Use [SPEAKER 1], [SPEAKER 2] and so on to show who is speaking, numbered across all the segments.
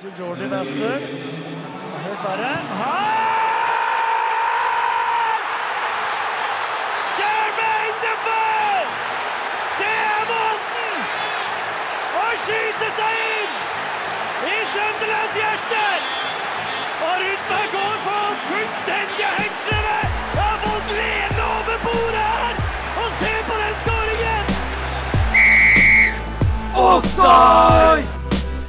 [SPEAKER 1] Så Jordi Bastøl. Helt verre. Her! Jermaine Defoe! Det er måten å skyte seg inn i Sunderlands hjerte! Og Rudberg går for fullstendig hengslene! Jeg har fått lene over bordet her! Og se på den skåringen!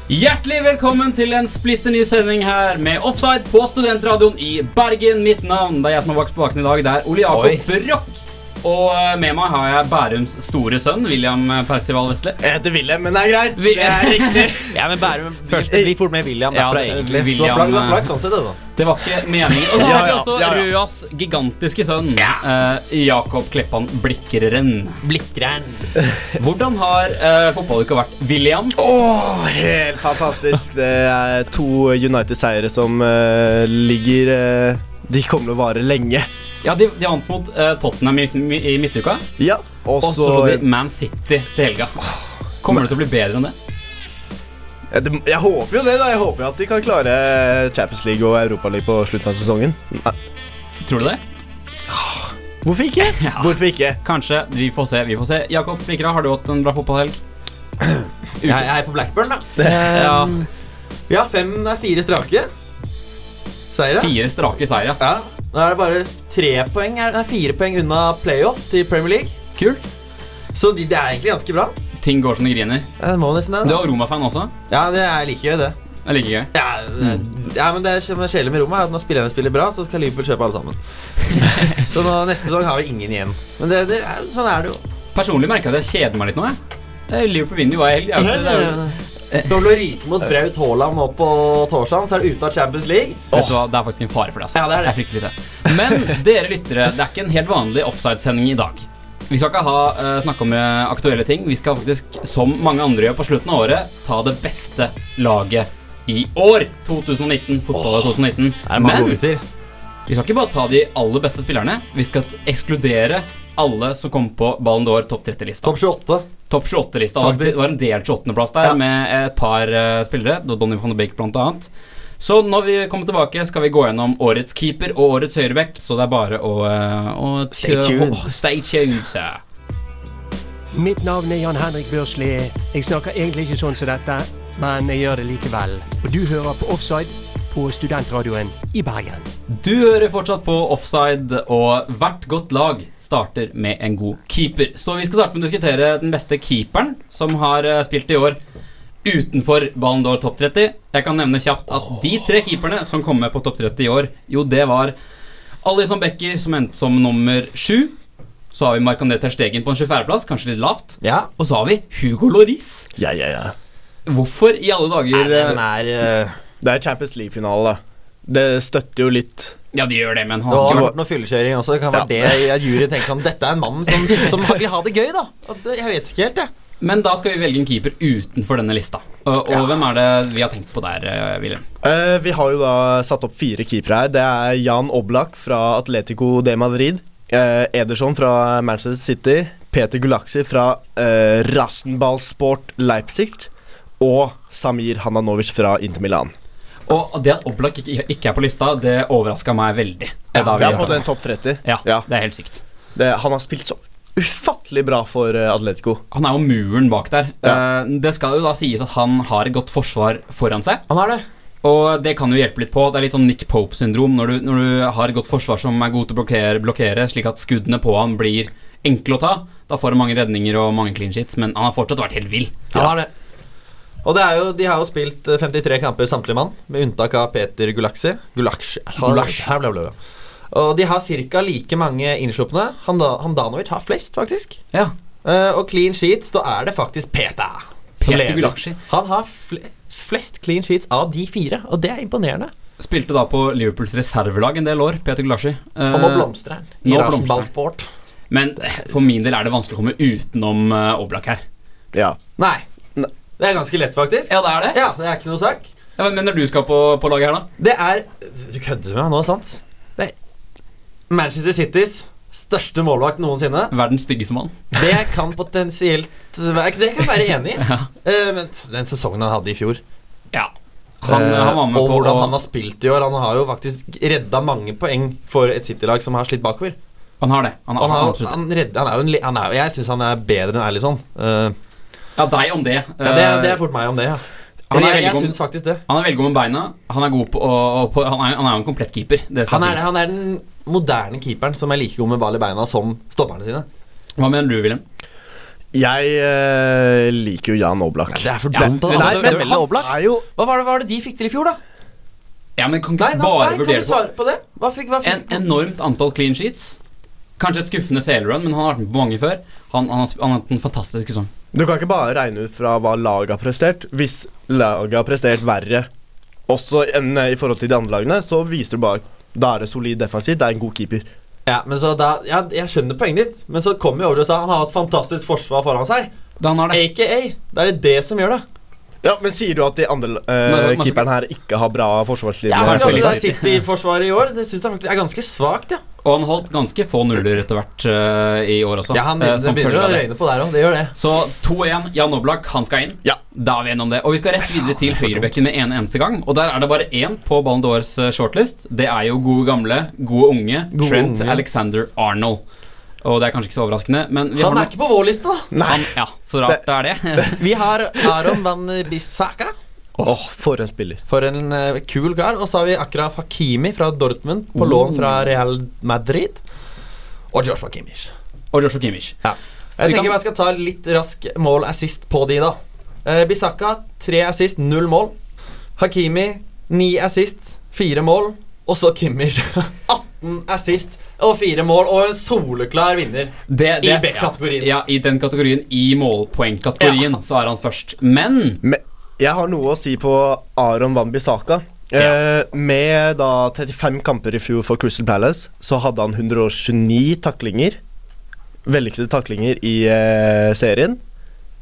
[SPEAKER 2] Hjertelig velkommen til en splitter ny sending her med Offside på Studentradioen i Bergen. Mitt navn det er jeg som er bak spaken i dag. Det er Ole
[SPEAKER 3] Oi.
[SPEAKER 2] Jakob Brokk. Og eh, med meg har jeg Bærums store sønn, William eh, Percival Vestle.
[SPEAKER 3] Jeg heter Wilhelm, men det er greit.
[SPEAKER 2] Vi-
[SPEAKER 3] Det er riktig.
[SPEAKER 4] Ja, men Bærum Først blir fort med William
[SPEAKER 2] Ja,
[SPEAKER 4] derfra,
[SPEAKER 2] det-
[SPEAKER 4] egentlig.
[SPEAKER 2] William,
[SPEAKER 4] Så det var flaks- det
[SPEAKER 2] eh,
[SPEAKER 4] var flaks sånn sett, altså.
[SPEAKER 2] Det var ikke meningen. Og så har
[SPEAKER 3] Ja,
[SPEAKER 2] vi
[SPEAKER 3] ja,
[SPEAKER 2] også
[SPEAKER 3] ja, ja.
[SPEAKER 2] Røas gigantiske sønn, eh, Jakob Kleppan Blikreren.
[SPEAKER 4] Blikkeren.
[SPEAKER 2] Hvordan har eh, fotballuka vært, William?
[SPEAKER 3] Åh, helt fantastisk. Det er to United-seiere som eh, ligger eh, De kommer til å vare lenge.
[SPEAKER 2] Ja, De, de vant mot eh, Tottenham i, i midtuka.
[SPEAKER 3] Ja, og
[SPEAKER 2] Og så
[SPEAKER 3] så
[SPEAKER 2] får
[SPEAKER 3] jeg,
[SPEAKER 2] de Man City til helga. Kommer det til å bli bedre enn det?
[SPEAKER 3] det- jeg håper jo det, da. Jeg håper jo at de kan klare eh, Champions League og Europa League på slutten av sesongen. Nei,
[SPEAKER 2] Tror du det?
[SPEAKER 3] Hvorfor ikke?
[SPEAKER 2] Ja.
[SPEAKER 3] Hvorfor ikke?
[SPEAKER 2] Kanskje. Vi får se. vi får se Jakob Blikra, har du hatt en bra fotballhelg?
[SPEAKER 4] Jeg jeg er på Blackburn, da. Ehm, Vi har fem, det er fire strake seire.
[SPEAKER 2] Fire strake seire.
[SPEAKER 4] Ja. Nå er det bare tre poeng, er- nei, fire poeng unna playoff til Premier League.
[SPEAKER 2] Kult.
[SPEAKER 4] Så de- det er egentlig ganske bra.
[SPEAKER 2] Ting går som det griner.
[SPEAKER 4] Ja, Det må nesten det.
[SPEAKER 2] Du
[SPEAKER 4] da.
[SPEAKER 2] er Roma-fan også.
[SPEAKER 4] Ja, det er like gøy, det.
[SPEAKER 2] Det er like gøy.
[SPEAKER 4] Ja, det- ja, men det som er kjedelig med Roma, er at når spillerne spiller bra, så skal Liverpool kjøpe alle sammen. Så nå, neste sesong har vi ingen igjen. Men det, det er, sånn er det jo.
[SPEAKER 2] Personlig merker jeg at jeg kjeder meg litt nå. jeg Eh, Liverpool vinner jo hver helg. Det er jo ikke- det er jo-
[SPEAKER 4] Når du ryker mot Braut Haaland nå på torsdag, så er det ute av Champions League.
[SPEAKER 2] Vet du hva, Det er faktisk en fare for det. Altså.
[SPEAKER 4] Ja, det er det.
[SPEAKER 2] fryktelig det. Men dere lyttere, det er ikke en helt vanlig offside-sending i dag. Vi skal ikke ha, eh, snakke om eh, aktuelle ting. Vi skal faktisk, som mange andre gjør på slutten av året, ta det beste laget i år. 2019. Fotball 2019. Men vi
[SPEAKER 4] gutter?
[SPEAKER 2] skal ikke bare ta de aller beste spillerne. Vi skal ekskludere alle som kom på Ballon d'Or topp 30-lista.
[SPEAKER 4] Topp 28.
[SPEAKER 2] Topp 28-lista.
[SPEAKER 4] Faktisk.
[SPEAKER 2] faktisk. Det var en delt 28.-plass der
[SPEAKER 4] Ja.
[SPEAKER 2] med et par eh, spillere. Da Donny van de Beek blant annet. Så når vi kommer tilbake, skal vi gå gjennom årets keeper og årets høyreback. Så det er bare å, eh, å
[SPEAKER 4] Stay tuned.
[SPEAKER 2] å- stay tuned sir.
[SPEAKER 5] Mitt navn er Jan Henrik Børsli. Jeg snakker egentlig ikke sånn som dette, men jeg gjør det likevel. Og du hører på Offside på Studentradioen i Bergen.
[SPEAKER 2] Du hører fortsatt på offside, og hvert godt lag starter med en god keeper. Så vi skal starte med å diskutere den beste keeperen som har eh, spilt i år utenfor Ballon d'Or topp 30. Jeg kan nevne kjapt at de tre keeperne som kom med på topp 30 i år, jo, det var Alison Becker, som endte som nummer sju. Så har vi Marc-André Ter Stegen på en 24.-plass, kanskje litt lavt.
[SPEAKER 4] Ja.
[SPEAKER 2] Og så har vi Hugo Loris.
[SPEAKER 3] Ja, ja, ja.
[SPEAKER 2] Hvorfor i alle dager
[SPEAKER 4] Den
[SPEAKER 2] eh,
[SPEAKER 4] er eh,
[SPEAKER 3] Det er Champions League-finale, da. Det støtter jo litt.
[SPEAKER 2] Ja, de gjør det, men han
[SPEAKER 4] Det
[SPEAKER 2] har
[SPEAKER 4] har
[SPEAKER 2] ikke
[SPEAKER 4] vært noe fyllekjøring også. Det kan være
[SPEAKER 3] Ja.
[SPEAKER 4] det at juryen tenker sånn Dette er en mann som, som vil ha det gøy, da. Og det, jeg vet ikke helt, jeg.
[SPEAKER 2] Men da skal vi velge en keeper utenfor denne lista. Og, og hvem er det vi har tenkt på der, eh, Wilhelm?
[SPEAKER 3] Eh, vi har jo da satt opp fire keepere her. Det er Jan Oblak fra Atletico de Madrid. eh, Ederson fra Manchester City. Peter Gulaksi fra eh, Rasenballsport Leipzig. Og Samir Hananovic fra Inter Milan.
[SPEAKER 2] Og det at Oblak ikke, ikke er på lista, det overraska meg veldig. eh, da vi
[SPEAKER 3] Ja, på
[SPEAKER 2] gjorde
[SPEAKER 3] den
[SPEAKER 2] det.
[SPEAKER 3] topp 30.
[SPEAKER 2] ja,
[SPEAKER 3] Ja.
[SPEAKER 2] det er helt sykt.
[SPEAKER 3] Det, han har spilt så ufattelig bra for eh, Atletico.
[SPEAKER 2] Han er jo muren bak der.
[SPEAKER 3] Ja.
[SPEAKER 2] Eh, Det skal jo da sies at han har et godt forsvar foran seg,
[SPEAKER 4] Han er det.
[SPEAKER 2] og det kan jo hjelpe litt på. Det er litt sånn Nick Pope-syndrom når, du- når du har et godt forsvar som er god til å blokkere, blokkere, slik at skuddene på han blir enkle å ta. Da får han mange redninger og mange clean sheets, men han har fortsatt vært helt vill.
[SPEAKER 4] Han har det. Og det er jo, de har jo spilt eh, 53 kamper samtlige mann, med unntak av Peter Gulaksi. Gulaksi.
[SPEAKER 2] Gulaksi.
[SPEAKER 4] Her ble det. Og de har ca. like mange innslupne. Handa- Handanovic har flest, faktisk.
[SPEAKER 2] Ja,
[SPEAKER 4] Eh, og clean sheets, da er det faktisk Peter. som
[SPEAKER 2] Peter
[SPEAKER 4] leder.
[SPEAKER 2] Gulaksi.
[SPEAKER 4] Han har fl flest clean sheets av de fire, og det er imponerende.
[SPEAKER 2] Spilte da på Liverpools reservelag en del år, Peter Gulashi. Eh,
[SPEAKER 4] Og nå blomstrer han.
[SPEAKER 2] nå
[SPEAKER 4] I
[SPEAKER 2] blomstrer han.
[SPEAKER 4] Rasenballsport.
[SPEAKER 2] Men eh, for min del er det vanskelig å komme utenom eh, Oblak her.
[SPEAKER 3] Ja.
[SPEAKER 4] Nei.
[SPEAKER 3] Ne-
[SPEAKER 4] Det er ganske lett, faktisk.
[SPEAKER 2] Ja, det er det.
[SPEAKER 4] Ja, det er ikke noe sak.
[SPEAKER 2] Ja, Hvem mener du skal på, på laget her, da?
[SPEAKER 4] Det er Du kødder med meg nå, sant? Det er Manchester Citys største målvakt noensinne.
[SPEAKER 2] Verdens styggeste mann.
[SPEAKER 4] Det kan potensielt være Det kan jeg være enig i.
[SPEAKER 2] Ja.
[SPEAKER 4] Eh, men den sesongen han hadde i fjor
[SPEAKER 2] ja. Han,
[SPEAKER 4] Eh,
[SPEAKER 2] han var med
[SPEAKER 4] og
[SPEAKER 2] på
[SPEAKER 4] hvordan
[SPEAKER 2] å-
[SPEAKER 4] han har spilt i år. Han har jo faktisk redda mange poeng for et City-lag som har slitt bakover.
[SPEAKER 2] Han har det. Han,
[SPEAKER 4] Han,
[SPEAKER 2] han,
[SPEAKER 4] har,
[SPEAKER 2] absolutt.
[SPEAKER 4] han, redder, han er jo en, li- han er, jo- Jeg syns han er bedre enn Erlisson. Eh,
[SPEAKER 2] Ja, deg om det.
[SPEAKER 4] ja, det,
[SPEAKER 2] Eh,
[SPEAKER 4] det er fort meg om det, ja.
[SPEAKER 2] han,
[SPEAKER 4] Men
[SPEAKER 2] er
[SPEAKER 4] jeg
[SPEAKER 2] veldig
[SPEAKER 4] jeg
[SPEAKER 2] god,
[SPEAKER 4] syns faktisk det.
[SPEAKER 2] han er veldig god med beina. Han er god på, å- på han, er, han er jo en komplett keeper. Det skal
[SPEAKER 4] Han er,
[SPEAKER 2] sies.
[SPEAKER 4] han er den moderne keeperen som er like god med ball i beina som stopperne sine.
[SPEAKER 2] Hva mener du, Wilhelm?
[SPEAKER 3] Jeg eh, liker jo Jan Oblak.
[SPEAKER 4] Det er for
[SPEAKER 2] Ja,
[SPEAKER 4] dumt.
[SPEAKER 3] Men
[SPEAKER 4] da.
[SPEAKER 3] nei,
[SPEAKER 4] Han-
[SPEAKER 3] men
[SPEAKER 4] han-
[SPEAKER 3] han er jo
[SPEAKER 4] hva, var det, hva var det de fikk til i fjor, da?
[SPEAKER 2] Ja, men Kan ikke
[SPEAKER 4] Nei, hva,
[SPEAKER 2] bare
[SPEAKER 4] nei, kan du
[SPEAKER 2] vurdere på
[SPEAKER 4] svare på det? Hva fikk, hva
[SPEAKER 2] en
[SPEAKER 4] fikk
[SPEAKER 2] enormt antall clean sheets. Kanskje et skuffende sailrun, men han har vært med på mange før. Han, han, har, sp- han har hatt en fantastisk sesong.
[SPEAKER 3] Du kan ikke bare regne ut fra hva laget har prestert. Hvis laget har prestert verre også enn eh, i forhold til de andre lagene, så viser du bare da er det solid defensivt. Det er en god keeper.
[SPEAKER 4] Ja, men så da, ja, Jeg skjønner poenget ditt, men så kom vi over og sa han har et fantastisk forsvar foran seg.
[SPEAKER 2] Da han har det.
[SPEAKER 4] AKA. Da er det det som gjør det.
[SPEAKER 3] Ja, Men sier du at de andre
[SPEAKER 2] Men
[SPEAKER 3] eh,
[SPEAKER 2] så- men så-
[SPEAKER 3] keeperne her ikke har bra forsvarslinje?
[SPEAKER 4] Ja, men
[SPEAKER 2] kanskje
[SPEAKER 4] altså,
[SPEAKER 2] litt.
[SPEAKER 4] City-forsvaret i år Det syns jeg faktisk er ganske svakt, ja.
[SPEAKER 2] Og han holdt ganske få nuller etter hvert eh, i år også.
[SPEAKER 4] ja han
[SPEAKER 2] eh,
[SPEAKER 4] begynner,
[SPEAKER 2] som
[SPEAKER 4] det begynner
[SPEAKER 2] følge
[SPEAKER 4] å
[SPEAKER 2] av det.
[SPEAKER 4] røyne på der òg. Det gjør det.
[SPEAKER 2] Så 2-1. Jan Oblak, han skal inn.
[SPEAKER 3] Ja.
[SPEAKER 2] Da er vi gjennom det. Og vi skal rett videre til høyrebekken med en eneste gang. Og der er det bare én på Ballon d'Ors eh, shortlist. Det er jo gode gamle, gode unge
[SPEAKER 4] Gode
[SPEAKER 2] Trent
[SPEAKER 4] unge.
[SPEAKER 2] Alexander Arnold. Og det er kanskje ikke så overraskende, men vi
[SPEAKER 4] Han
[SPEAKER 2] har
[SPEAKER 4] er ikke på vår liste, da.
[SPEAKER 3] Nei.
[SPEAKER 2] han, Ja, så rart det er det.
[SPEAKER 4] Vi har Aron Van Bissaka.
[SPEAKER 3] Åh, for en spiller.
[SPEAKER 4] For en eh, kul kar. Og så har vi Akraf Hakimi fra Dortmund på lån fra Real Madrid. Og Joshua Kimmich.
[SPEAKER 2] Og Joshua Kimmich.
[SPEAKER 4] Jeg
[SPEAKER 2] Vi kan-
[SPEAKER 4] tenker bare jeg skal ta litt rask mål assist på de, da. Eh, Bissaka tre assist, null mål. Hakimi ni assist, fire mål. Og så Kimmich. 18 assist og fire mål, og en soleklar vinner.
[SPEAKER 2] Det-
[SPEAKER 4] I
[SPEAKER 2] det-
[SPEAKER 4] B-kategorien.
[SPEAKER 2] Ja, i den kategorien. I målpoengkategorien så er han først. Men
[SPEAKER 3] Men jeg har noe å si på Aron Wanbisaka. Eh, med da 35 kamper i fjor for Crystal Palace, så hadde han 129 taklinger. Vellykkede taklinger i eh, serien.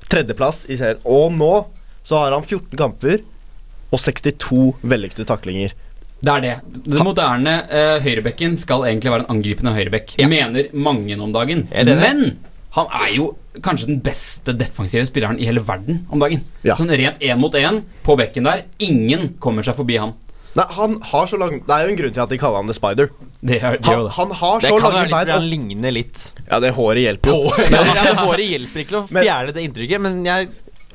[SPEAKER 3] Tredjeplass i serien. Og nå så har han 14 kamper og 62 vellykkede taklinger.
[SPEAKER 2] det er det. Den moderne eh, høyrebekken skal egentlig være en angripende høyrebekk, mener mange nå om dagen.
[SPEAKER 4] Er det det?
[SPEAKER 2] Men han er jo kanskje den beste defensive spilleren i hele verden om dagen.
[SPEAKER 3] Ja.
[SPEAKER 2] Sånn rent én mot én på bekken der. Ingen kommer seg forbi han.
[SPEAKER 3] Nei, han har så lang Det er jo en grunn til at de kaller han The Spider.
[SPEAKER 2] Det er, det er
[SPEAKER 3] Han,
[SPEAKER 2] jo det.
[SPEAKER 3] han har
[SPEAKER 4] Det
[SPEAKER 3] så
[SPEAKER 4] kan være litt
[SPEAKER 3] lange
[SPEAKER 4] fordi
[SPEAKER 3] bein.
[SPEAKER 4] han
[SPEAKER 3] og-
[SPEAKER 4] ligner litt.
[SPEAKER 3] Ja, det håret hjelper jo.
[SPEAKER 4] Ja, men Håret hjelper ikke til å
[SPEAKER 3] Men-
[SPEAKER 4] fjerne det inntrykket, men jeg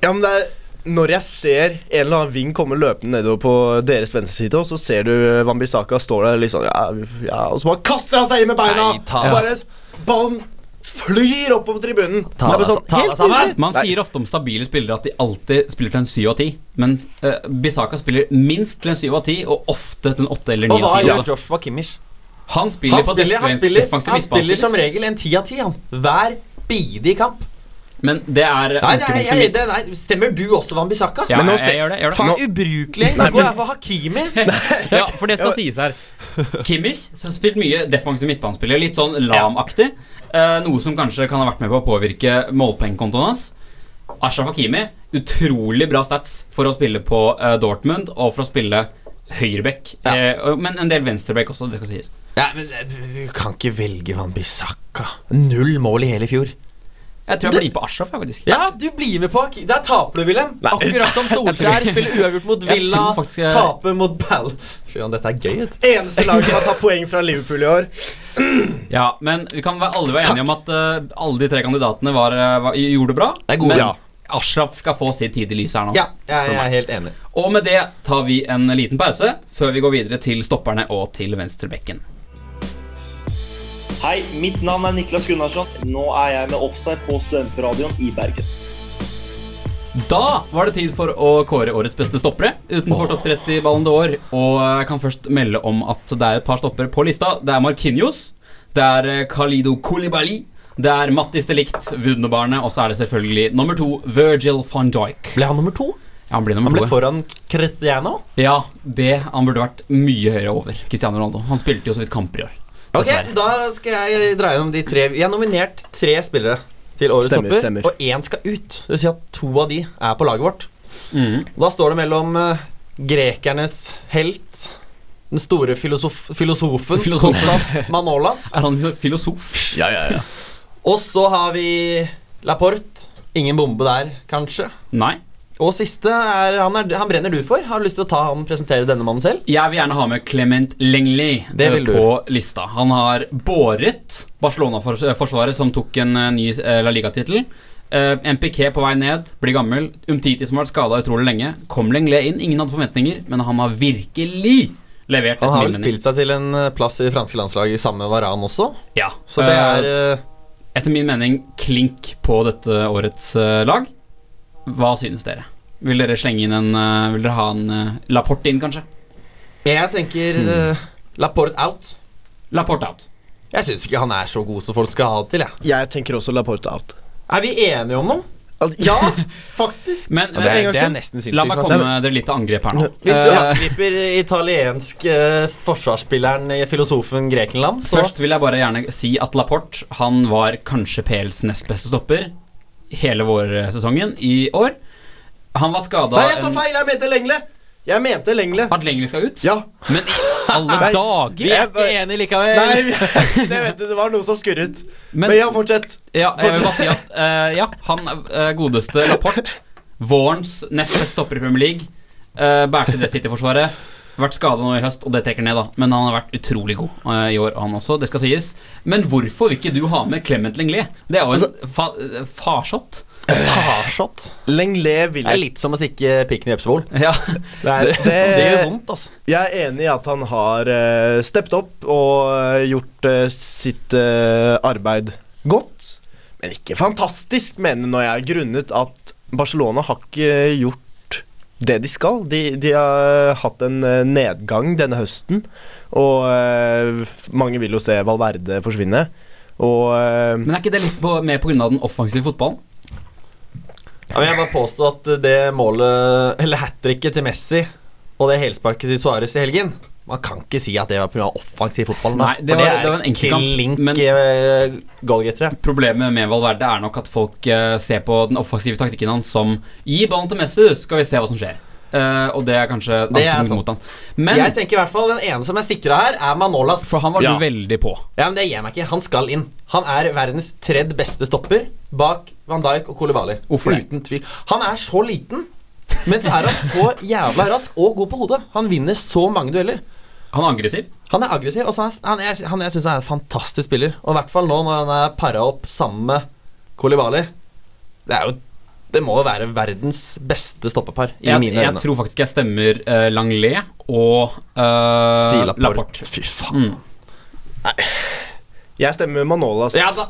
[SPEAKER 3] Ja, men det er når jeg ser en eller annen ving komme løpende nedover på deres venstre side, og så ser du Wambisaka står der litt sånn ja, ja, Og så bare kaster han seg inn med beina!
[SPEAKER 4] Nei, ta
[SPEAKER 3] og
[SPEAKER 4] deg
[SPEAKER 3] bare Ballen flyr opp på tribunen.
[SPEAKER 4] Ta
[SPEAKER 3] Det er bare sånn
[SPEAKER 4] deg- ta deg
[SPEAKER 3] helt
[SPEAKER 4] sammen!
[SPEAKER 3] riktig.
[SPEAKER 2] Man
[SPEAKER 3] Nei,
[SPEAKER 2] sier ofte om stabile spillere at de alltid spiller til en syv av ti, men eh, Bisaka spiller minst til en syv av ti, og ofte til en åtte eller ni
[SPEAKER 4] Og hva
[SPEAKER 2] av ti.
[SPEAKER 4] gjør
[SPEAKER 2] også.
[SPEAKER 4] Joshua Kimmich?
[SPEAKER 2] Han spiller,
[SPEAKER 4] Han
[SPEAKER 2] på
[SPEAKER 4] spiller,
[SPEAKER 2] defen-
[SPEAKER 4] han spiller,
[SPEAKER 2] defensiv
[SPEAKER 4] han spiller
[SPEAKER 2] midtbanespiller.
[SPEAKER 4] som regel en ti av ti, han. Hver bidige kamp.
[SPEAKER 2] Men det er
[SPEAKER 4] Nei, det er,
[SPEAKER 2] ankepunktet
[SPEAKER 4] jeg,
[SPEAKER 2] mitt.
[SPEAKER 4] det, nei, stemmer du også, Van Bissaka?
[SPEAKER 2] Ja,
[SPEAKER 3] Men nå
[SPEAKER 2] jeg,
[SPEAKER 3] ser-
[SPEAKER 2] jeg gjør det. Jeg gjør det.
[SPEAKER 4] Faen,
[SPEAKER 3] Nå-
[SPEAKER 4] ubrukelig! Da går jeg for Hakimi.
[SPEAKER 2] Ja, for det skal sies her. Kimmich som har spilt mye defensiv midtbanespiller. Litt sånn lam-aktig. eh, noe som kanskje kan ha vært med på å påvirke målpoengkontoen hans. Ashraf Hakimi, utrolig bra stats for å spille på eh, Dortmund og for å spille høyreback.
[SPEAKER 4] Ja.
[SPEAKER 2] Eh, og- men en del venstreback også, det skal sies.
[SPEAKER 4] Ja, men eh, Du kan ikke velge Van Bissaka. Null mål i hele fjor.
[SPEAKER 2] Jeg tror jeg blir på Ashraf, jeg, faktisk.
[SPEAKER 4] Ja, du blir med på Hakimi. Der taper du, Wilhelm. Akkurat som Solskjær. Spiller uavgjort mot
[SPEAKER 2] Jeg
[SPEAKER 4] Villa,
[SPEAKER 2] tror faktisk jeg-
[SPEAKER 4] taper mot Ball. Fy faen, dette er gøy. vet du.
[SPEAKER 3] Eneste lag som har tatt poeng fra Liverpool i år.
[SPEAKER 2] Ja, men vi kan være, alle være enige om at eh, alle de tre kandidatene var, eh, var, gjorde det bra.
[SPEAKER 4] Det er gode,
[SPEAKER 2] men
[SPEAKER 3] ja.
[SPEAKER 2] Ashraf skal få sitt tid i lyset her nå.
[SPEAKER 4] Ja,
[SPEAKER 2] spør
[SPEAKER 4] jeg, jeg
[SPEAKER 2] meg.
[SPEAKER 4] er helt enig.
[SPEAKER 2] Og med det tar vi en liten pause før vi går videre til stopperne og til venstrebekken.
[SPEAKER 6] Hei, mitt navn er Niklas Gunnarsson. Nå er jeg med Offside på Studentradioen i Bergen.
[SPEAKER 2] Da var det tid for å kåre årets beste stoppere utenfor topp 30 Ballon d'Or. Og jeg kan først melde om at det er et par stoppere på lista. Det er Markinios, det er Khalido Kolibali, det er Mattis de Ligt, Wunderbarnet, og så er det selvfølgelig nummer to, Virgil van Dijk.
[SPEAKER 4] Ble han nummer to?
[SPEAKER 2] Ja, han blir
[SPEAKER 4] Han
[SPEAKER 2] nummer
[SPEAKER 4] ble
[SPEAKER 2] to.
[SPEAKER 4] foran Cristiano.
[SPEAKER 2] Ja, det han burde vært mye høyere over. Cristiano Ronaldo. Han spilte jo så vidt kamper i år.
[SPEAKER 4] Ok,
[SPEAKER 2] Dessverre.
[SPEAKER 4] da skal jeg dra gjennom de tre Vi har nominert tre spillere til årets
[SPEAKER 3] Stemmer,
[SPEAKER 4] topper
[SPEAKER 3] stemmer.
[SPEAKER 4] Og en skal ut Det vil si at to av de er på laget vårt Da står det mellom eh, grekernes helt Den store filosof filosofen
[SPEAKER 2] Filosofen.
[SPEAKER 4] Kostas Manolas
[SPEAKER 2] Er han en filosof?
[SPEAKER 4] Og så har vi Laporte Ingen bombe der, kanskje
[SPEAKER 2] Nei.
[SPEAKER 4] Og siste er han, er han brenner du for. Har du lyst til å ta han og presentere denne mannen selv?
[SPEAKER 2] Jeg vil gjerne ha med Clement Lengli
[SPEAKER 4] Det
[SPEAKER 2] eh,
[SPEAKER 4] vil du.
[SPEAKER 2] på lista. Han har båret Barcelona-forsvaret, som tok en eh, ny eh, La Liga-tittel. Eh, MPK på vei ned, blir gammel. Umtiti som har vært skada utrolig lenge. Kom Lengli inn, ingen hadde forventninger, men han har virkelig levert.
[SPEAKER 4] Han har vel
[SPEAKER 2] etter min mening.
[SPEAKER 4] spilt seg til en eh, plass i det franske landslaget sammen med Varan også.
[SPEAKER 2] Ja,
[SPEAKER 4] Så det
[SPEAKER 2] eh,
[SPEAKER 4] er eh,
[SPEAKER 2] etter min mening klink på dette årets eh, lag. Hva synes dere? Vil dere slenge inn en eh, Vil dere ha en eh, Laporte inn, kanskje?
[SPEAKER 4] Jeg tenker eh, Laporte out.
[SPEAKER 2] Laporte out.
[SPEAKER 4] Jeg syns ikke han er så god som folk skal ha det til. Jeg.
[SPEAKER 3] Jeg tenker også Laporte out.
[SPEAKER 4] Er vi enige om noe?
[SPEAKER 3] Al- Ja, faktisk!
[SPEAKER 2] Men
[SPEAKER 3] Ja, det er-
[SPEAKER 2] eh,
[SPEAKER 3] det er
[SPEAKER 4] nesten
[SPEAKER 2] la meg komme dere litt til angrep her nå.
[SPEAKER 4] Hvis du
[SPEAKER 2] Eh,
[SPEAKER 4] angriper italiensk eh, forsvarsspilleren i filosofen Grekenland, så
[SPEAKER 2] Først vil jeg bare gjerne si at Laporte Han var kanskje PLs nest beste stopper hele vårsesongen i år. Han var skada
[SPEAKER 3] Nei, jeg sa feil! Jeg mente Lengle! Jeg mente Lengle.
[SPEAKER 2] At Lengli skal ut?
[SPEAKER 3] Ja.
[SPEAKER 2] Men i alle
[SPEAKER 3] Nei.
[SPEAKER 2] dager!
[SPEAKER 4] Vi er ikke enige likevel.
[SPEAKER 3] Nei, det vet du, det var noe som skurret.
[SPEAKER 2] Men
[SPEAKER 3] Men ja, fortsett.
[SPEAKER 2] ja, jeg vil bare si at eh, ja, han eh, godeste Laporte, vårens nest beste stopper i Premier League, eh, bærte det City-forsvaret. Vært skada nå i høst, og det trekker ned, da. Men han har vært utrolig god eh, i år, han også. Det skal sies. Men hvorfor vil ikke du ha med Clement Lengli? Det er jo
[SPEAKER 4] Altså-
[SPEAKER 2] en fa farsott.
[SPEAKER 4] Parshot.
[SPEAKER 3] Lengle vil
[SPEAKER 4] Det er
[SPEAKER 3] jeg
[SPEAKER 4] litt som å stikke pikken i Epsebol.
[SPEAKER 2] Ja.
[SPEAKER 4] Det, er-
[SPEAKER 3] Det- det-
[SPEAKER 4] det gjør vondt, altså.
[SPEAKER 3] Jeg er enig i at han har uh, steppet opp og eh, gjort eh, sitt eh, arbeid godt. Men ikke fantastisk, mener jeg, når jeg er grunnet at Barcelona har ikke gjort det de skal. De, de har hatt en eh, nedgang denne høsten, og eh, mange vil jo se Valverde forsvinne. Og eh,
[SPEAKER 2] Men er ikke det litt på, mer pga. den offensive fotballen?
[SPEAKER 4] Ja, men jeg bare påstå at det målet, eller hat tricket til Messi og det helsparket til Suárez i helgen Man kan ikke si at det var pga. offensiv fotball. da.
[SPEAKER 2] Nei, det
[SPEAKER 4] For
[SPEAKER 2] var- det var en enkeltkamp,
[SPEAKER 4] klink
[SPEAKER 2] men-
[SPEAKER 4] eh, goalgettere.
[SPEAKER 2] Problemet med Valverde er nok at folk eh, ser på den offensive taktikken hans som Gi ballen til Messi, du, så skal vi se hva som skjer. Eh, og det er kanskje
[SPEAKER 4] Det er
[SPEAKER 2] ankepunktet
[SPEAKER 4] sant.
[SPEAKER 2] mot han. Men
[SPEAKER 4] Jeg tenker i hvert fall Den ene som er sikra her, er Manolas.
[SPEAKER 2] for han var
[SPEAKER 3] Ja.
[SPEAKER 2] du veldig på.
[SPEAKER 4] Ja, men Det gir jeg meg ikke. Han skal inn. Han er verdens tredje beste stopper bak Van Dijk og Kolivali.
[SPEAKER 2] Hvorfor det?
[SPEAKER 4] Uten tvil. Han er så liten, men så er han så jævla rask og god på hodet. Han vinner så mange dueller.
[SPEAKER 2] Han er aggressiv.
[SPEAKER 4] Han er aggressiv, og så er han, han, jeg, han, jeg synes han er en fantastisk spiller. Og i hvert fall nå når han er para opp sammen med Kolibali. Det er jo Det må jo være verdens beste stoppepar, i
[SPEAKER 2] Jeg,
[SPEAKER 4] mine
[SPEAKER 2] jeg
[SPEAKER 4] øyne.
[SPEAKER 2] tror faktisk jeg stemmer uh, Langlet og
[SPEAKER 4] Si
[SPEAKER 2] uh,
[SPEAKER 4] Laporte.
[SPEAKER 2] Laporte.
[SPEAKER 4] Fy faen.
[SPEAKER 2] Mm.
[SPEAKER 3] jeg stemmer Manolas
[SPEAKER 4] Ja, da,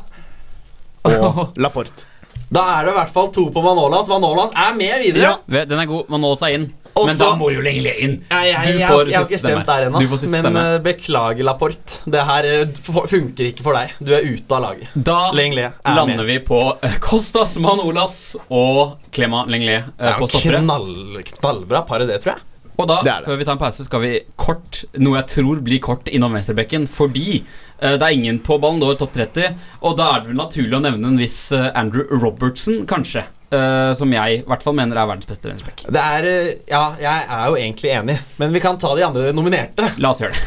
[SPEAKER 3] og Laporte.
[SPEAKER 4] da er det i hvert fall to på Manolas. Manolas er med videre.
[SPEAKER 3] Ja.
[SPEAKER 2] Vet, Den er god. Man nåler seg inn.
[SPEAKER 4] Og
[SPEAKER 2] men
[SPEAKER 4] så-
[SPEAKER 2] da må jo Lenglet inn.
[SPEAKER 4] Nei, jeg, jeg,
[SPEAKER 2] Du
[SPEAKER 4] jeg,
[SPEAKER 2] får
[SPEAKER 4] har- jeg har ikke
[SPEAKER 2] siste
[SPEAKER 4] stemt
[SPEAKER 2] stemme.
[SPEAKER 4] der ennå,
[SPEAKER 2] Du får siste
[SPEAKER 4] men
[SPEAKER 2] stemme.
[SPEAKER 4] eh, beklager, Laporte. Det her eh, f- funker ikke for deg. Du er ute av laget.
[SPEAKER 2] Da
[SPEAKER 4] Lenglet er
[SPEAKER 2] lander
[SPEAKER 4] med.
[SPEAKER 2] vi på eh, Kostas Manolas og Clement Lenglet eh,
[SPEAKER 4] Det er
[SPEAKER 2] på
[SPEAKER 4] jo
[SPEAKER 2] stoppere.
[SPEAKER 4] knall, knallbra par i det, tror jeg.
[SPEAKER 2] Og da,
[SPEAKER 3] Det er det.
[SPEAKER 2] før vi tar en pause, skal vi kort, noe jeg tror blir kort, innom venstrebekken. Fordi eh, det er ingen på Ballon d'Or topp 30, og da er det vel naturlig å nevne en viss eh, Andrew Robertson, kanskje. eh, som jeg i hvert fall mener er verdens beste venstrebekk.
[SPEAKER 4] Det er eh, Ja, jeg er jo egentlig enig, men vi kan ta de andre nominerte.
[SPEAKER 2] La oss gjøre det.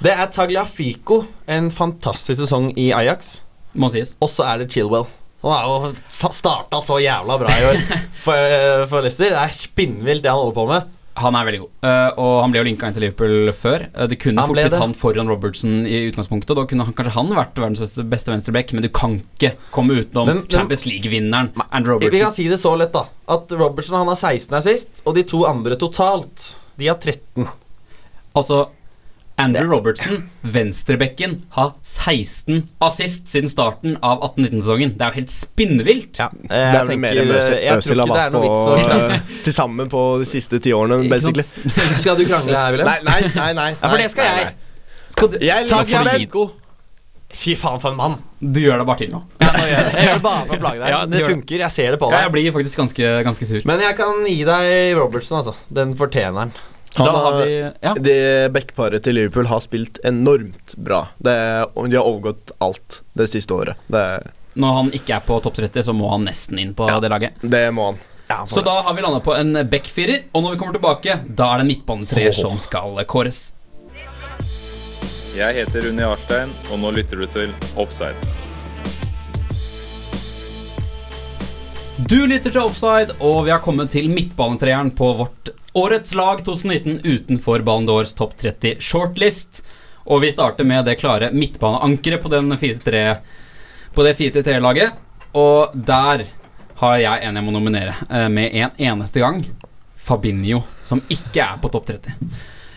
[SPEAKER 4] Det er Tagliafico. En fantastisk sesong i Ajax.
[SPEAKER 2] Må sies.
[SPEAKER 4] Og så er det Chilwell. Han har jo fa- starta så jævla bra i år for, eh, for Leicester. Det er spinnvilt, det han holder på med.
[SPEAKER 2] Han er veldig god. Eh, og han ble jo linka inn til Liverpool før. Eh, det kunne
[SPEAKER 4] Han ble
[SPEAKER 2] fort blitt
[SPEAKER 4] det.
[SPEAKER 2] han foran Robertson i utgangspunktet. og Da kunne han, kanskje han vært verdens beste- beste venstrebekk, men du kan ikke komme utenom
[SPEAKER 4] Men- men-
[SPEAKER 2] Champions League-vinneren Andrew
[SPEAKER 4] Vi- Vi kan
[SPEAKER 2] Robertson.
[SPEAKER 4] si det så lett, da. At Robertson han har 16 assist, og de to andre totalt, de har 13.
[SPEAKER 2] Altså Andrew Robertson, venstrebekken, har 16 assist siden starten av 18-19-sesongen. Det er jo helt spinnvilt!
[SPEAKER 4] Eh, Jeg,
[SPEAKER 3] Det er vel
[SPEAKER 4] tenker- eh,
[SPEAKER 3] mer enn Øzil-
[SPEAKER 4] jeg tror
[SPEAKER 3] Øzil har
[SPEAKER 4] ikke det er
[SPEAKER 3] vært
[SPEAKER 4] noe vits å
[SPEAKER 3] på til sammen på de siste ti årene,
[SPEAKER 2] Ikke sant?
[SPEAKER 3] basically.
[SPEAKER 4] Skal du krangle her, Wilhelm?
[SPEAKER 3] Nei, nei, nei. nei,
[SPEAKER 4] Ja, for det skal
[SPEAKER 3] nei,
[SPEAKER 4] jeg.
[SPEAKER 3] nei.
[SPEAKER 2] Skal du,
[SPEAKER 3] Jeg
[SPEAKER 4] Ta
[SPEAKER 2] Nå får du gi-
[SPEAKER 4] Gravenko. Fy faen, for en mann.
[SPEAKER 2] du gjør deg bare til nå.
[SPEAKER 4] Ja, nå gjør jeg det. Jeg gjør det bare for å plage deg.
[SPEAKER 2] Ja,
[SPEAKER 4] det
[SPEAKER 2] gjør det.
[SPEAKER 4] funker. Jeg ser det på
[SPEAKER 2] Ja, jeg
[SPEAKER 4] deg.
[SPEAKER 2] blir faktisk ganske, ganske sur.
[SPEAKER 4] Men jeg kan gi deg Robertson, altså. Den fortjener han.
[SPEAKER 3] Han
[SPEAKER 2] da har
[SPEAKER 3] har-
[SPEAKER 2] vi Ja,
[SPEAKER 3] Det backparet til Liverpool har spilt enormt bra. Det, og de har overgått alt det siste året. Det,
[SPEAKER 2] når han ikke er på topp 30, så må han nesten inn på det laget.
[SPEAKER 3] det må han.
[SPEAKER 4] Ja, han
[SPEAKER 2] Så
[SPEAKER 4] får det.
[SPEAKER 2] da har vi landa på en backfirer, og når vi kommer tilbake, da er det en midtbanetreer som skal kåres.
[SPEAKER 7] Jeg heter Rune Jarstein, og nå lytter du til Offside.
[SPEAKER 2] Du lytter til Offside, og vi har kommet til midtbanetreeren på vårt årets lag 2019 utenfor Ballon d'Ors topp 30 shortlist. Og vi starter med det klare midtbaneankeret på, den 4-3 på det 4-3-laget. Og der har jeg en jeg må nominere eh, med en eneste gang. Fabinho, som ikke er på topp 30.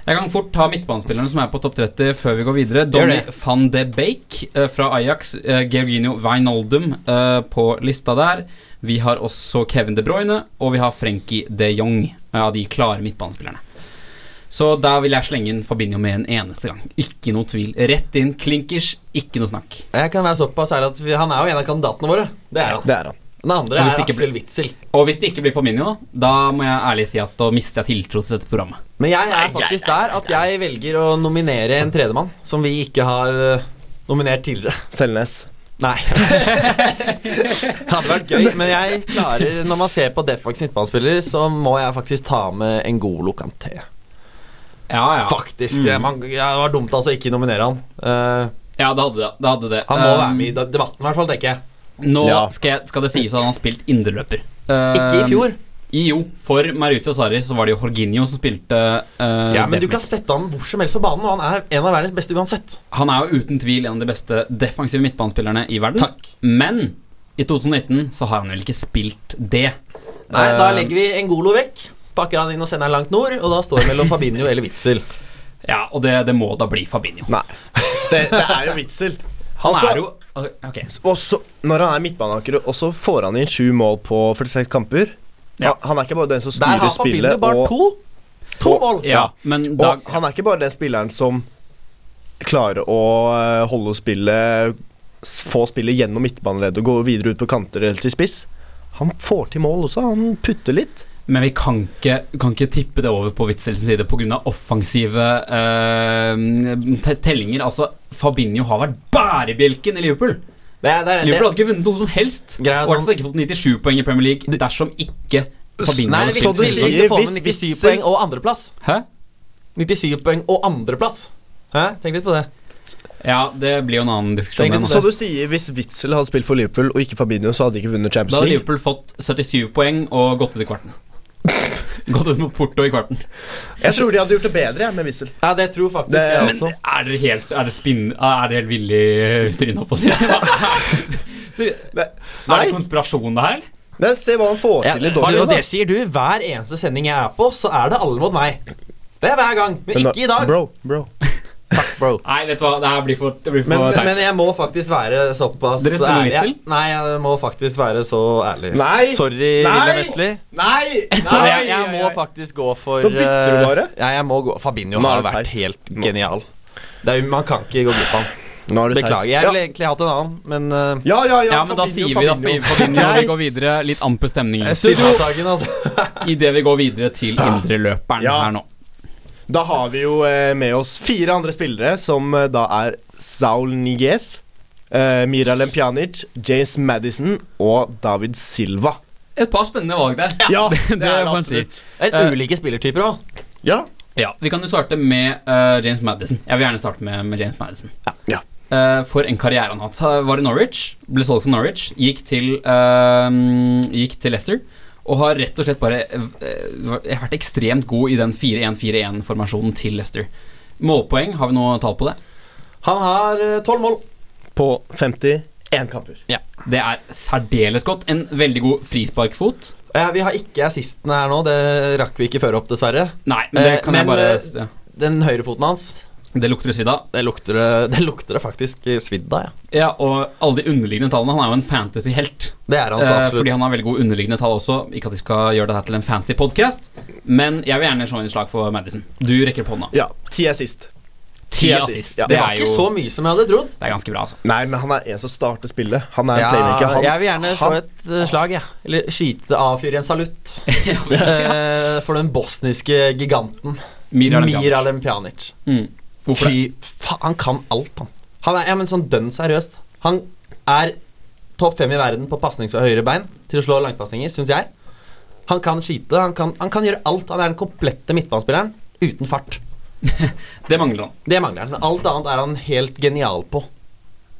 [SPEAKER 2] Jeg kan fort ta midtbanespillerne som er på topp 30, før vi går videre. Donny
[SPEAKER 4] det.
[SPEAKER 2] van de Beek eh, fra Ajax. eh, Georgino Wijnaldum eh, på lista der. Vi har også Kevin De Bruyne, og vi har Frenkie de Jong eh, av de klare midtbanespillerne. Så der vil jeg slenge inn Fabinho med en eneste gang. Ikke noe tvil. Rett inn, klinkers, ikke noe snakk.
[SPEAKER 4] Jeg kan være såpass ærlig at vi, Han er jo en av kandidatene våre. Det er han.
[SPEAKER 3] Det er han.
[SPEAKER 4] Den andre
[SPEAKER 2] Og hvis
[SPEAKER 4] er
[SPEAKER 2] det ikke
[SPEAKER 4] Aksel Witzel.
[SPEAKER 2] Og hvis det ikke blir Fabinho, da, da må jeg ærlig si at da mister jeg tiltro til dette programmet.
[SPEAKER 4] Men jeg er faktisk der at jeg velger å nominere en tredjemann som vi ikke har eh, nominert tidligere.
[SPEAKER 3] Selnes.
[SPEAKER 4] Nei. det hadde vært gøy, men jeg klarer Når man ser på Defax midtbanespiller, så må jeg faktisk ta med en god lokanté.
[SPEAKER 2] Ja, ja.
[SPEAKER 4] Faktisk. Man, ja, det var dumt altså ikke nominere han. Eh,
[SPEAKER 2] ja det hadde det. det, hadde det.
[SPEAKER 4] han må
[SPEAKER 2] Um,
[SPEAKER 4] være med i de- debatten, i hvert fall, tenker jeg.
[SPEAKER 2] Nå
[SPEAKER 3] Ja.
[SPEAKER 2] skal, jeg, skal det sies at han har spilt indreløper. Um,
[SPEAKER 4] Ikke i fjor.
[SPEAKER 2] Jo, for Maruti Asari så var det jo Jorginho som spilte eh,
[SPEAKER 4] Ja, Men du
[SPEAKER 2] defensive.
[SPEAKER 4] kan spette han hvor som helst på banen, og han er en av verdens beste uansett.
[SPEAKER 2] Han er jo uten tvil en av de beste defensive midtbanespillerne i verden. Men i 2019 så har han vel ikke spilt det.
[SPEAKER 4] Nei, Da
[SPEAKER 2] Eh,
[SPEAKER 4] legger vi Engolo vekk, pakker han inn og sender han langt nord, og da står det mellom Fabinho eller Witzel.
[SPEAKER 2] Ja, Og det, det må da bli Fabinho.
[SPEAKER 3] Nei. Det, det er jo Witzel.
[SPEAKER 2] Han
[SPEAKER 3] Altså-
[SPEAKER 2] er jo Ok.
[SPEAKER 3] Og så, når han er midtbaneanker, og så får han inn sju mål på 46 kamper
[SPEAKER 2] Ja.
[SPEAKER 3] Han- Han er ikke bare den som
[SPEAKER 4] Der har
[SPEAKER 3] styrer
[SPEAKER 4] Fabinho
[SPEAKER 3] spillet,
[SPEAKER 4] bare
[SPEAKER 3] og,
[SPEAKER 4] to. To
[SPEAKER 3] og-
[SPEAKER 4] mål.
[SPEAKER 2] Ja, men da
[SPEAKER 3] og han er ikke bare den spilleren som klarer å eh, holde spillet s- Få spillet gjennom midtbaneleddet og gå videre ut på kanter eller til spiss. Han får til mål også. Han putter litt.
[SPEAKER 2] Men vi kan ikke, kan ikke tippe det over på Witzels side pga. offensive eh, te- tellinger. Altså, Fabinho har vært bærebjelken i Liverpool.
[SPEAKER 4] Det er, det er, det
[SPEAKER 2] Liverpool hadde ikke vunnet noe som helst. Og i
[SPEAKER 4] Greia er
[SPEAKER 2] hvert fall
[SPEAKER 4] sånn-
[SPEAKER 2] ikke fått 97 poeng i Premier League dersom ikke Fabinho
[SPEAKER 4] Nei,
[SPEAKER 2] hadde
[SPEAKER 4] det
[SPEAKER 3] Så
[SPEAKER 4] viktig-
[SPEAKER 3] du
[SPEAKER 2] spilt.
[SPEAKER 4] viktig å
[SPEAKER 3] sier
[SPEAKER 4] få med
[SPEAKER 3] hvis
[SPEAKER 4] 97
[SPEAKER 3] Witzel-
[SPEAKER 4] poeng og andreplass.
[SPEAKER 2] Hæ?
[SPEAKER 4] 97 poeng og andreplass. Hæ? Tenk litt på det.
[SPEAKER 2] Ja, det blir jo en annen diskusjon. altså.
[SPEAKER 4] Tenk
[SPEAKER 2] men-
[SPEAKER 4] litt på
[SPEAKER 3] Så du sier hvis Witzel hadde spilt for Liverpool og ikke Fabinho, så hadde de ikke vunnet
[SPEAKER 2] Da
[SPEAKER 3] Champions
[SPEAKER 2] hadde
[SPEAKER 3] League?
[SPEAKER 2] Liverpool fått 77 poeng og gått ut i kvarten. gått ut mot Porto i kvarten.
[SPEAKER 3] Jeg tror de hadde gjort det bedre jeg, med Witzel.
[SPEAKER 4] Ja, det tror faktisk
[SPEAKER 3] Det-
[SPEAKER 4] jeg
[SPEAKER 2] Men
[SPEAKER 4] også.
[SPEAKER 2] er dere helt Er det spinn... Er det helt villig tryne opp og si? Er
[SPEAKER 3] Nei,
[SPEAKER 2] det konspirasjon, det her?
[SPEAKER 3] Nei, se hva han får
[SPEAKER 4] Ja,
[SPEAKER 3] til i
[SPEAKER 4] og
[SPEAKER 3] Dortmund.
[SPEAKER 4] det sier du hver eneste sending jeg er på, så er det alle mot meg. Det er hver gang, men
[SPEAKER 3] da-
[SPEAKER 4] ikke i dag.
[SPEAKER 3] Bro, bro.
[SPEAKER 4] Takk, bro.
[SPEAKER 2] Nei, vet du hva, det her blir for, det blir for
[SPEAKER 4] Men,
[SPEAKER 2] teit.
[SPEAKER 4] men jeg må faktisk være såpass
[SPEAKER 2] Dere stemmer
[SPEAKER 4] ærlig.
[SPEAKER 2] Witzel?
[SPEAKER 4] Nei, jeg må faktisk være så ærlig.
[SPEAKER 3] Nei!
[SPEAKER 4] Sorry,
[SPEAKER 3] Nei!
[SPEAKER 4] William Wesley.
[SPEAKER 3] Nei!
[SPEAKER 4] Så jeg, jeg må faktisk gå for
[SPEAKER 3] Nå bytter du
[SPEAKER 4] eh,
[SPEAKER 3] bare.
[SPEAKER 4] Ja, jeg må gå. Fabinho
[SPEAKER 3] Nå er
[SPEAKER 4] har
[SPEAKER 3] det
[SPEAKER 4] vært
[SPEAKER 3] teit.
[SPEAKER 4] helt genial. Det er, jo- man kan ikke gå glipp av han.
[SPEAKER 3] Nå er du teit.
[SPEAKER 4] Beklager. Jeg
[SPEAKER 3] Ja.
[SPEAKER 4] ville egentlig hatt en annen, men eh,
[SPEAKER 3] Ja, ja, ja,
[SPEAKER 2] ja, men da sier vi da Fabinho og vi går videre. Litt amper stemning
[SPEAKER 4] Sivasagen, altså.
[SPEAKER 2] idet vi går videre til indreløperen
[SPEAKER 3] Ja.
[SPEAKER 2] her nå.
[SPEAKER 3] Da har vi jo eh, med oss fire andre spillere, som eh, da er Saul Niguez, eh, Mira Lempjanic, James Madison og David Silva.
[SPEAKER 2] Et par spennende valg der. det er det absolutt.
[SPEAKER 4] Det
[SPEAKER 2] Eh,
[SPEAKER 4] er ulike spillertyper òg.
[SPEAKER 3] Ja.
[SPEAKER 2] Ja, Vi kan jo starte med eh, James Madison. Jeg vil gjerne starte med, med James Madison.
[SPEAKER 3] Ja.
[SPEAKER 2] Eh, for en karriere han har hatt. Han Var i Norwich, ble solgt for Norwich, gikk til, eh, gikk til Leicester. Og har rett og slett bare eh, vært ekstremt god i den 4-1-4-1-formasjonen til Leicester. Målpoeng, har vi noe tall på det?
[SPEAKER 4] Han har eh, tolv mål.
[SPEAKER 3] På 51 kamper.
[SPEAKER 2] Det er særdeles godt. En veldig god frisparkfot.
[SPEAKER 4] Eh, vi har ikke assistene her nå, det rakk vi ikke føre opp, dessverre.
[SPEAKER 2] Nei, men det
[SPEAKER 4] Eh,
[SPEAKER 2] kan
[SPEAKER 4] men,
[SPEAKER 2] jeg
[SPEAKER 4] eh,
[SPEAKER 2] bare ja.
[SPEAKER 4] Den høyrefoten hans,
[SPEAKER 2] Det lukter svidd av.
[SPEAKER 4] det lukter det, det lukter det faktisk svidd av, ja.
[SPEAKER 2] Ja, og alle de underliggende tallene. Han er jo en fantasy-helt.
[SPEAKER 4] Det er han så
[SPEAKER 2] Eh,
[SPEAKER 4] Altså, absolutt.
[SPEAKER 2] fordi han har veldig gode underliggende tall også. Ikke at vi skal gjøre det her til en fancy podcast, men jeg vil gjerne slå inn et slag for Madison. Du rekker opp hånda.
[SPEAKER 3] Ja, ti er sist.
[SPEAKER 2] Ti
[SPEAKER 3] assist.
[SPEAKER 2] assist.
[SPEAKER 3] Ja.
[SPEAKER 2] Det
[SPEAKER 4] det var
[SPEAKER 2] er
[SPEAKER 4] ikke
[SPEAKER 2] jo
[SPEAKER 4] så mye som jeg hadde trodd.
[SPEAKER 2] Det er ganske bra, altså.
[SPEAKER 3] Nei, men han er en som starter spillet. Han er en playmaker. Han,
[SPEAKER 4] jeg vil gjerne slå
[SPEAKER 3] han,
[SPEAKER 4] et eh, slag, jeg. Ja. Eller skyte av fyren en salutt. Eh, for den bosniske giganten
[SPEAKER 2] Mira Lempjanic.
[SPEAKER 4] Mira Lempjanic.
[SPEAKER 2] Mm. Hvorfor det?
[SPEAKER 4] Fy faen, han kan alt, han. Han er ja, men sånn dønn seriøs. Han er topp fem i verden på pasnings fra høyre bein til å slå langpasninger, syns jeg. Han kan skyte, han kan, han kan gjøre alt. Han er den komplette midtbanespilleren uten fart.
[SPEAKER 2] Det mangler han.
[SPEAKER 4] Det mangler han. Men alt annet er han helt genial på.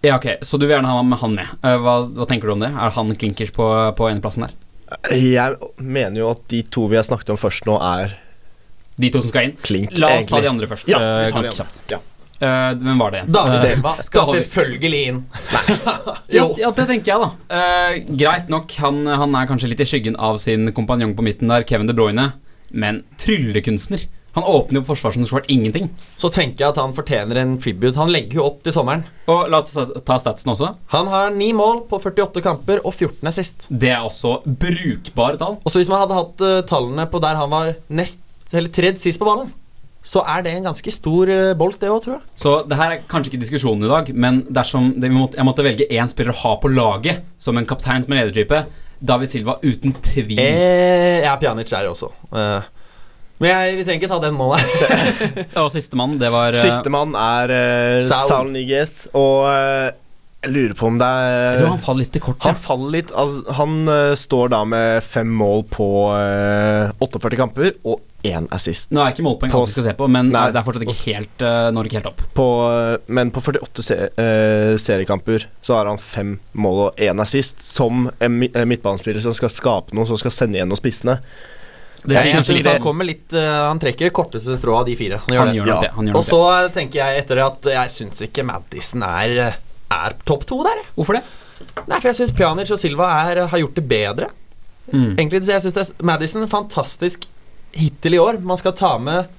[SPEAKER 2] Ja, ok, Så du vil gjerne ha med han med. Eh, Hva, hva tenker du om det? Er han klinkers på, på eneplassen der?
[SPEAKER 3] Jeg mener jo at de to vi har snakket om først nå, er
[SPEAKER 2] De to som skal inn.
[SPEAKER 3] klink,
[SPEAKER 2] La oss ta de
[SPEAKER 3] egentlig.
[SPEAKER 2] andre først.
[SPEAKER 3] Ja,
[SPEAKER 2] eh,
[SPEAKER 3] vi tar de
[SPEAKER 2] ganske
[SPEAKER 3] andre.
[SPEAKER 2] kjapt.
[SPEAKER 3] Ja.
[SPEAKER 2] Eh, hvem var det igjen?
[SPEAKER 4] David
[SPEAKER 2] Eh,
[SPEAKER 4] Silva skal
[SPEAKER 2] David.
[SPEAKER 4] selvfølgelig inn.
[SPEAKER 2] ja,
[SPEAKER 4] jo.
[SPEAKER 2] ja, det tenker jeg, da. Eh, greit nok, han, han er kanskje litt i skyggen av sin kompanjong på midten der, Kevin De Bruyne, men tryllekunstner. Han åpner jo opp forsvar som det skulle vært ingenting.
[SPEAKER 4] Så tenker jeg at han fortjener en tribute. Han legger jo opp til sommeren.
[SPEAKER 2] Og la oss ta- ta statsen også.
[SPEAKER 4] Han har ni mål på 48 kamper og 14 er sist.
[SPEAKER 2] Det er også brukbare tall.
[SPEAKER 4] Og så hvis man hadde hatt eh, tallene på der han var nest, eller tredje sist på ballen, så er det en ganske stor eh, bolt, det òg, tror jeg.
[SPEAKER 2] Så det her er kanskje ikke diskusjonen i dag, men dersom det, vi måtte, jeg måtte velge én spiller å ha på laget som en kaptein, som en ledertype, David Silva uten tvil.
[SPEAKER 4] Eh, jeg er Pjanic der også. Eh, men jeg, vi trenger ikke ta den nå, nei.
[SPEAKER 2] Og sistemann, det var eh,
[SPEAKER 3] Sistemann er uh,
[SPEAKER 4] Saul.
[SPEAKER 3] Saul Niguez, og eh, jeg lurer på om det
[SPEAKER 2] Jeg
[SPEAKER 3] er
[SPEAKER 2] tror han faller litt til kort.
[SPEAKER 3] Han
[SPEAKER 2] ja.
[SPEAKER 3] faller litt. Altså, han eh, står da med fem mål på eh, 48 kamper og én assist.
[SPEAKER 2] Nå er ikke målpoeng alt vi skal se på, men
[SPEAKER 3] Nei.
[SPEAKER 2] eh, det er fortsatt ikke helt eh, Når ikke helt opp.
[SPEAKER 3] På, eh, men på 48 se eh, seriekamper så har han fem mål og én assist som en mi eh, midtbanespiller som skal skape noe, som skal sende igjennom spissene.
[SPEAKER 2] Det
[SPEAKER 4] Jeg, jeg
[SPEAKER 2] synes
[SPEAKER 4] synes
[SPEAKER 2] jeg
[SPEAKER 4] han kommer litt eh, Han trekker det korteste strået av de fire. Han gjør
[SPEAKER 2] Han
[SPEAKER 4] det.
[SPEAKER 2] gjør nok
[SPEAKER 3] Ja.
[SPEAKER 2] det. Han gjør
[SPEAKER 4] Og
[SPEAKER 2] nok
[SPEAKER 4] så eh, tenker jeg etter det at jeg syns ikke Madison er, eh, er topp to der, jeg.
[SPEAKER 2] det. Hvorfor det?
[SPEAKER 4] Nei, for jeg syns Pjanic og Silva er, har gjort det bedre.
[SPEAKER 2] Mm.
[SPEAKER 4] Egentlig, så jeg synes det er s- Madison fantastisk hittil i år. Man skal ta med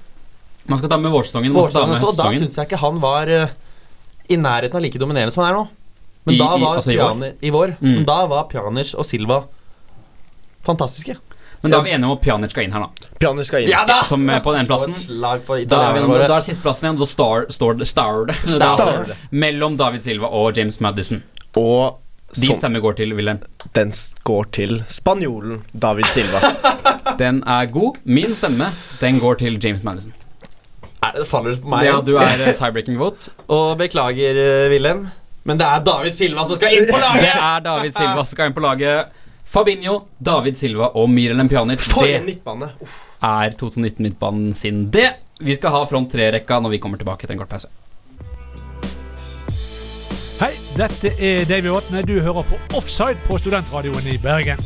[SPEAKER 2] Man skal ta med vårsesongen. Man skal ta
[SPEAKER 4] Vårsand
[SPEAKER 2] med
[SPEAKER 4] også, og da
[SPEAKER 2] høstsesongen.
[SPEAKER 4] syns jeg ikke han var eh, i nærheten av like dominerende som han er nå. Men
[SPEAKER 2] I-
[SPEAKER 4] da
[SPEAKER 2] i-
[SPEAKER 4] var
[SPEAKER 2] altså i vår?
[SPEAKER 4] Pjani, i vår.
[SPEAKER 2] Mm.
[SPEAKER 4] Men da var Pjanic og Silva fantastiske.
[SPEAKER 2] Men da er vi enige om at Pjanic skal inn her, da.
[SPEAKER 3] Pjanic skal inn.
[SPEAKER 4] da!
[SPEAKER 2] Som eh, på den plassen.
[SPEAKER 4] Og et slag
[SPEAKER 2] Da
[SPEAKER 4] for
[SPEAKER 2] er, vi,
[SPEAKER 4] italienerne
[SPEAKER 2] enige om-
[SPEAKER 4] våre.
[SPEAKER 2] da er sisteplassen igjen. Da star, står det star, det.
[SPEAKER 3] Star.
[SPEAKER 2] Mellom David Silva og James Madison.
[SPEAKER 3] Og
[SPEAKER 2] Din
[SPEAKER 3] som,
[SPEAKER 2] stemme går til Wilhelm.
[SPEAKER 3] den s- går til spanjolen David Silva.
[SPEAKER 2] Den er god. Min stemme den går til James Madison.
[SPEAKER 4] Er det faller det på meg.
[SPEAKER 2] Ja, du er eh, tiebreaking vote.
[SPEAKER 4] Og beklager, eh, Wilhelm, men det er David Silva som skal inn på
[SPEAKER 2] Det
[SPEAKER 4] laget!
[SPEAKER 2] er David Silva som skal inn på laget. Fabinho, David Silva og Miralem Pjanic.
[SPEAKER 3] For en
[SPEAKER 2] Det
[SPEAKER 3] midtbane! Uff.
[SPEAKER 2] er 2019-midtbanen sin, det. Vi skal ha front tre-rekka når vi kommer tilbake etter en kort pause.
[SPEAKER 7] Hei, dette er Davy Vatne. Du hører på Offside på Studentradioen i Bergen.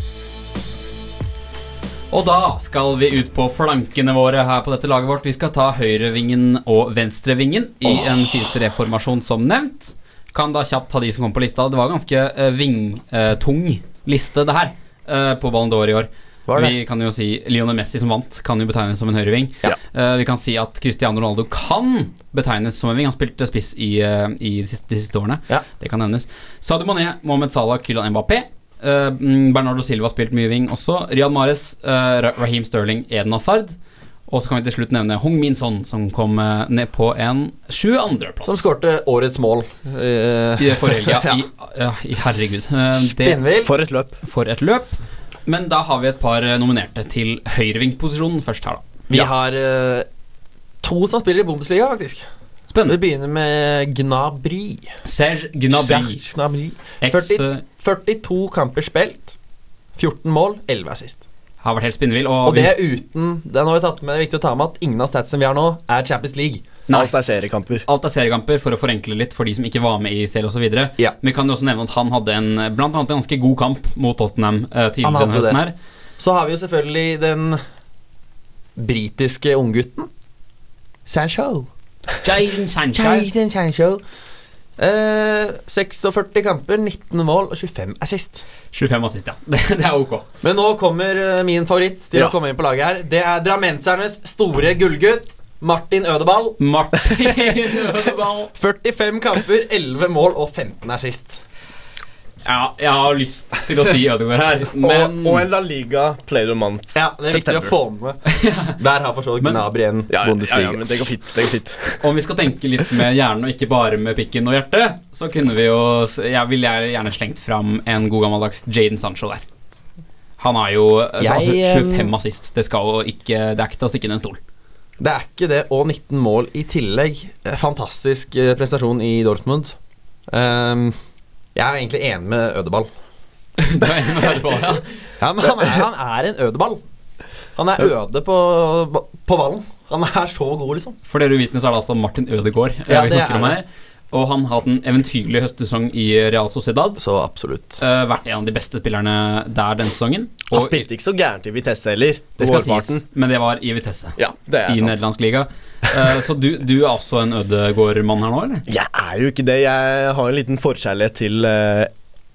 [SPEAKER 2] Og da skal vi ut på flankene våre her på dette laget vårt. Vi skal ta høyrevingen og venstrevingen i en 4-3-formasjon som nevnt. Kan da kjapt ta de som kom på lista. Det var ganske eh, vingtung liste, det her, eh, på Ballon d'Or i år.
[SPEAKER 4] Var det?
[SPEAKER 2] Vi kan jo si Lionel Messi som vant, kan jo betegnes som en høyreving. Eh, vi kan si at Cristiano Ronaldo kan betegnes som en ving. Han spilte spiss i, eh, i de, siste, de siste årene.
[SPEAKER 4] Ja.
[SPEAKER 2] Det kan nevnes. Sadio Mané, Mohamed Salah, Kylian Mbappé. Eh, mm, Bernardo Silva har spilt mye wing også. Riyad Mahrez, eh, Ra- Raheem Sterling, Eden Hazard. Og så kan vi til slutt nevne Hong Min Son, som kom eh, ned på en 22.-plass.
[SPEAKER 4] Som skårte årets mål. Eh,
[SPEAKER 2] I forrige helga. I- ja, i- Herregud. Eh, det
[SPEAKER 4] Spinnvill.
[SPEAKER 3] For et løp.
[SPEAKER 2] for et løp. Men da har vi et par eh, nominerte til høyrevingposisjonen først her, da.
[SPEAKER 4] Vi har eh, to som spiller i Bundesliga, faktisk. Vi
[SPEAKER 2] Spennende.
[SPEAKER 4] begynner med Gnabry.
[SPEAKER 2] Serge Gnabry.
[SPEAKER 4] Serge Gnabry.
[SPEAKER 2] Ex,
[SPEAKER 4] 40.
[SPEAKER 2] eh,
[SPEAKER 4] 42 kamper spilt. 14 mål, 11 assist.
[SPEAKER 2] har vært helt spinnvill. Og,
[SPEAKER 4] Og det er uten Det er, nå har vi tatt med, det er viktig å ta med at ingen av statsen vi har nå, er Champions League.
[SPEAKER 2] Nei.
[SPEAKER 3] Alt er seriekamper.
[SPEAKER 2] Alt er seriekamper, for å forenkle litt for de som ikke var med i CL osv.
[SPEAKER 4] Ja.
[SPEAKER 2] Men vi kan jo også nevne at han hadde en eh, blant annet en ganske god kamp mot Tottenham eh,
[SPEAKER 4] Han
[SPEAKER 2] tidligere denne
[SPEAKER 4] hadde
[SPEAKER 2] høsten. her
[SPEAKER 4] Så har vi jo selvfølgelig den britiske unggutten. Sancho.
[SPEAKER 2] Jadon Sancho.
[SPEAKER 4] Jadon Sancho. Eh, 46 kamper, 19 mål og 25 assist.
[SPEAKER 2] 25 assist, ja. Det, det er ok.
[SPEAKER 4] Men nå kommer eh, min favoritt til
[SPEAKER 3] Ja.
[SPEAKER 4] å komme inn på laget her. Det er drammensernes store gullgutt, Martin Ødebaall.
[SPEAKER 2] Martin Ødegaard.
[SPEAKER 4] 45 kamper, 11 mål og 15 assist.
[SPEAKER 2] Ja, jeg har lyst til å si Ødegaard her, men
[SPEAKER 3] Og, og en La Liga player of the month.
[SPEAKER 4] Ja, det er viktig å
[SPEAKER 3] September.
[SPEAKER 4] få med. Der har for så vidt
[SPEAKER 2] Men-
[SPEAKER 4] Gnabry en
[SPEAKER 3] Ja, ja,
[SPEAKER 4] Bundesliga.
[SPEAKER 3] ja, men det går fint. Det går fint.
[SPEAKER 2] Om vi skal tenke litt med hjernen og ikke bare med pikken og hjertet, så kunne vi jo Jeg ville gjerne slengt fram en god gammeldags Jaden Sancho der. Han har jo
[SPEAKER 4] Jeg,
[SPEAKER 2] altså,
[SPEAKER 4] eh,
[SPEAKER 2] 25 assist. Det, skal jo ikke, det er ikke til å stikke inn en stol.
[SPEAKER 4] Det er ikke det, og 19 mål i tillegg. Eh, Fantastisk eh, prestasjon i Dortmund. Ehm, jeg er egentlig enig med Ødeball.
[SPEAKER 2] Det er jeg veldig på, ja.
[SPEAKER 4] Ja, men han er, han er en ødeball. Han er øde på, på ballen. Han er så god, liksom.
[SPEAKER 2] For dere uvitende så er det altså Martin Ødegaard eh,
[SPEAKER 4] Ja,
[SPEAKER 2] vi
[SPEAKER 4] det
[SPEAKER 2] snakker om
[SPEAKER 4] er
[SPEAKER 2] her. og han har hatt en eventyrlig høstsesong i Real Sociedad.
[SPEAKER 4] Så absolutt.
[SPEAKER 2] Eh, vært en av de beste spillerne der denne sesongen.
[SPEAKER 3] Han spilte ikke så gærent i Vitesse heller.
[SPEAKER 2] det
[SPEAKER 3] På
[SPEAKER 2] skal
[SPEAKER 3] vårparten.
[SPEAKER 2] sies, men det var i Vitesse.
[SPEAKER 3] Ja, det er
[SPEAKER 2] I
[SPEAKER 3] sant.
[SPEAKER 2] nederlandsk liga. Eh, så du, du er også en Ødegård-mann her nå, eller?
[SPEAKER 3] Jeg er jo ikke det. Jeg har en liten forkjærlighet til eh,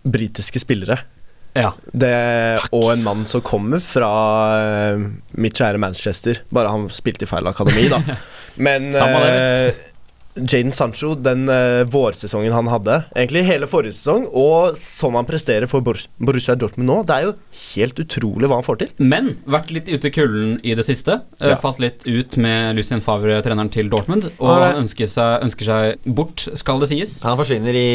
[SPEAKER 3] britiske spillere.
[SPEAKER 2] Ja.
[SPEAKER 3] Det, og en mann som kommer fra eh, mitt kjære Manchester. Bare han spilte i feil akademi, da. Men
[SPEAKER 2] Samme det.
[SPEAKER 3] eh, Jaden Sancho, den eh, vårsesongen han hadde, egentlig hele forrige sesong, og som han presterer for Bor Borussia Dortmund nå, det er jo helt utrolig hva han får til.
[SPEAKER 2] Men vært litt ute i kulden i det siste. Eh,
[SPEAKER 3] Ja.
[SPEAKER 2] Falt litt ut med Lucien Favre, treneren til Dortmund. Og
[SPEAKER 4] Har det-
[SPEAKER 2] han ønsker seg, ønsker seg bort, skal det sies,
[SPEAKER 4] Han forsvinner i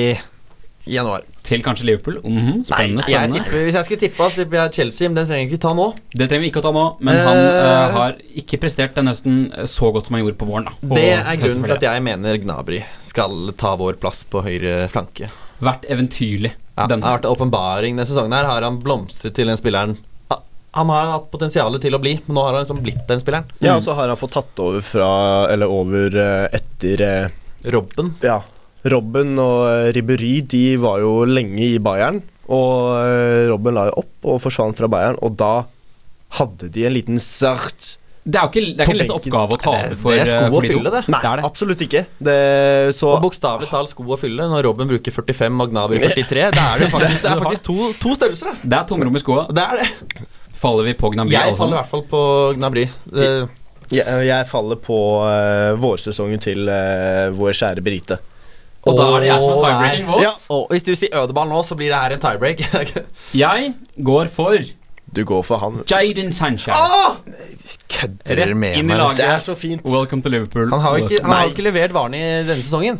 [SPEAKER 4] i januar.
[SPEAKER 2] til kanskje Liverpool. Mhm, spennende.
[SPEAKER 4] Jeg
[SPEAKER 2] spennende.
[SPEAKER 4] tipper, hvis jeg skulle tippe, så tipper jeg Chelsea, men den trenger jeg ikke ta nå.
[SPEAKER 2] Det trenger vi ikke å ta nå, men han
[SPEAKER 4] Eh.
[SPEAKER 2] eh, har ikke prestert denne høsten eh, så godt som han gjorde på våren. da på
[SPEAKER 4] Det er grunnen til at
[SPEAKER 2] høsten før det.
[SPEAKER 4] jeg mener Gnabry skal ta vår plass på høyre flanke.
[SPEAKER 2] Vært eventyrlig
[SPEAKER 4] Ja, det
[SPEAKER 2] denne
[SPEAKER 4] har vært
[SPEAKER 2] høsten.
[SPEAKER 4] en åpenbaring denne sesongen. her Har han blomstret til den spilleren Ah, Han har hatt potensial til å bli, men nå har han liksom blitt den spilleren.
[SPEAKER 2] Mm.
[SPEAKER 3] Ja, og så har han fått tatt over fra Eller over eh, etter eh,
[SPEAKER 4] Robben.
[SPEAKER 3] Ja. Robben og eh, Ribery de var jo lenge i Bayern. Og eh, Robben la jo opp og forsvant fra Bayern, og da hadde de en liten sart
[SPEAKER 2] Det er jo ikke, det er ikke en lett
[SPEAKER 3] På benken.
[SPEAKER 2] oppgave å tape
[SPEAKER 4] Det-
[SPEAKER 2] for,
[SPEAKER 4] det er sko
[SPEAKER 2] eh,
[SPEAKER 4] å
[SPEAKER 2] for de to.
[SPEAKER 4] fylle, det.
[SPEAKER 3] Nei,
[SPEAKER 2] Det er det.
[SPEAKER 3] absolutt ikke. Det, så
[SPEAKER 4] Og bokstavelig talt sko å fylle. Når Robben bruker 45 og Gnabry 43, da er det jo faktisk, det er faktisk to, to størrelser. da.
[SPEAKER 2] Det er tomrom i skoa.
[SPEAKER 4] Det er det.
[SPEAKER 2] Faller vi på Gnabry
[SPEAKER 4] Jeg
[SPEAKER 2] alle sammen?
[SPEAKER 4] faller i hvert fall på Gnabry. Eh,
[SPEAKER 3] jeg, jeg faller på eh, vårsesongen til eh, vår kjære Brite.
[SPEAKER 2] Og da er det jeg som
[SPEAKER 4] Åh,
[SPEAKER 2] har tiebreaking
[SPEAKER 4] nei.
[SPEAKER 2] vote.
[SPEAKER 3] Ja.
[SPEAKER 4] Og hvis du sier Ødeball nå, så blir det her en tiebreak.
[SPEAKER 2] Jeg går for
[SPEAKER 3] Du går for han. Ah!
[SPEAKER 2] Jadon Sanchez.
[SPEAKER 4] Ah! Kødder
[SPEAKER 2] Rett inn i
[SPEAKER 3] Det er
[SPEAKER 2] laget.
[SPEAKER 3] så fint.
[SPEAKER 2] Welcome to Liverpool.
[SPEAKER 4] Han har jo ikke, han har
[SPEAKER 3] Nei.
[SPEAKER 4] jo ikke levert varene i denne sesongen.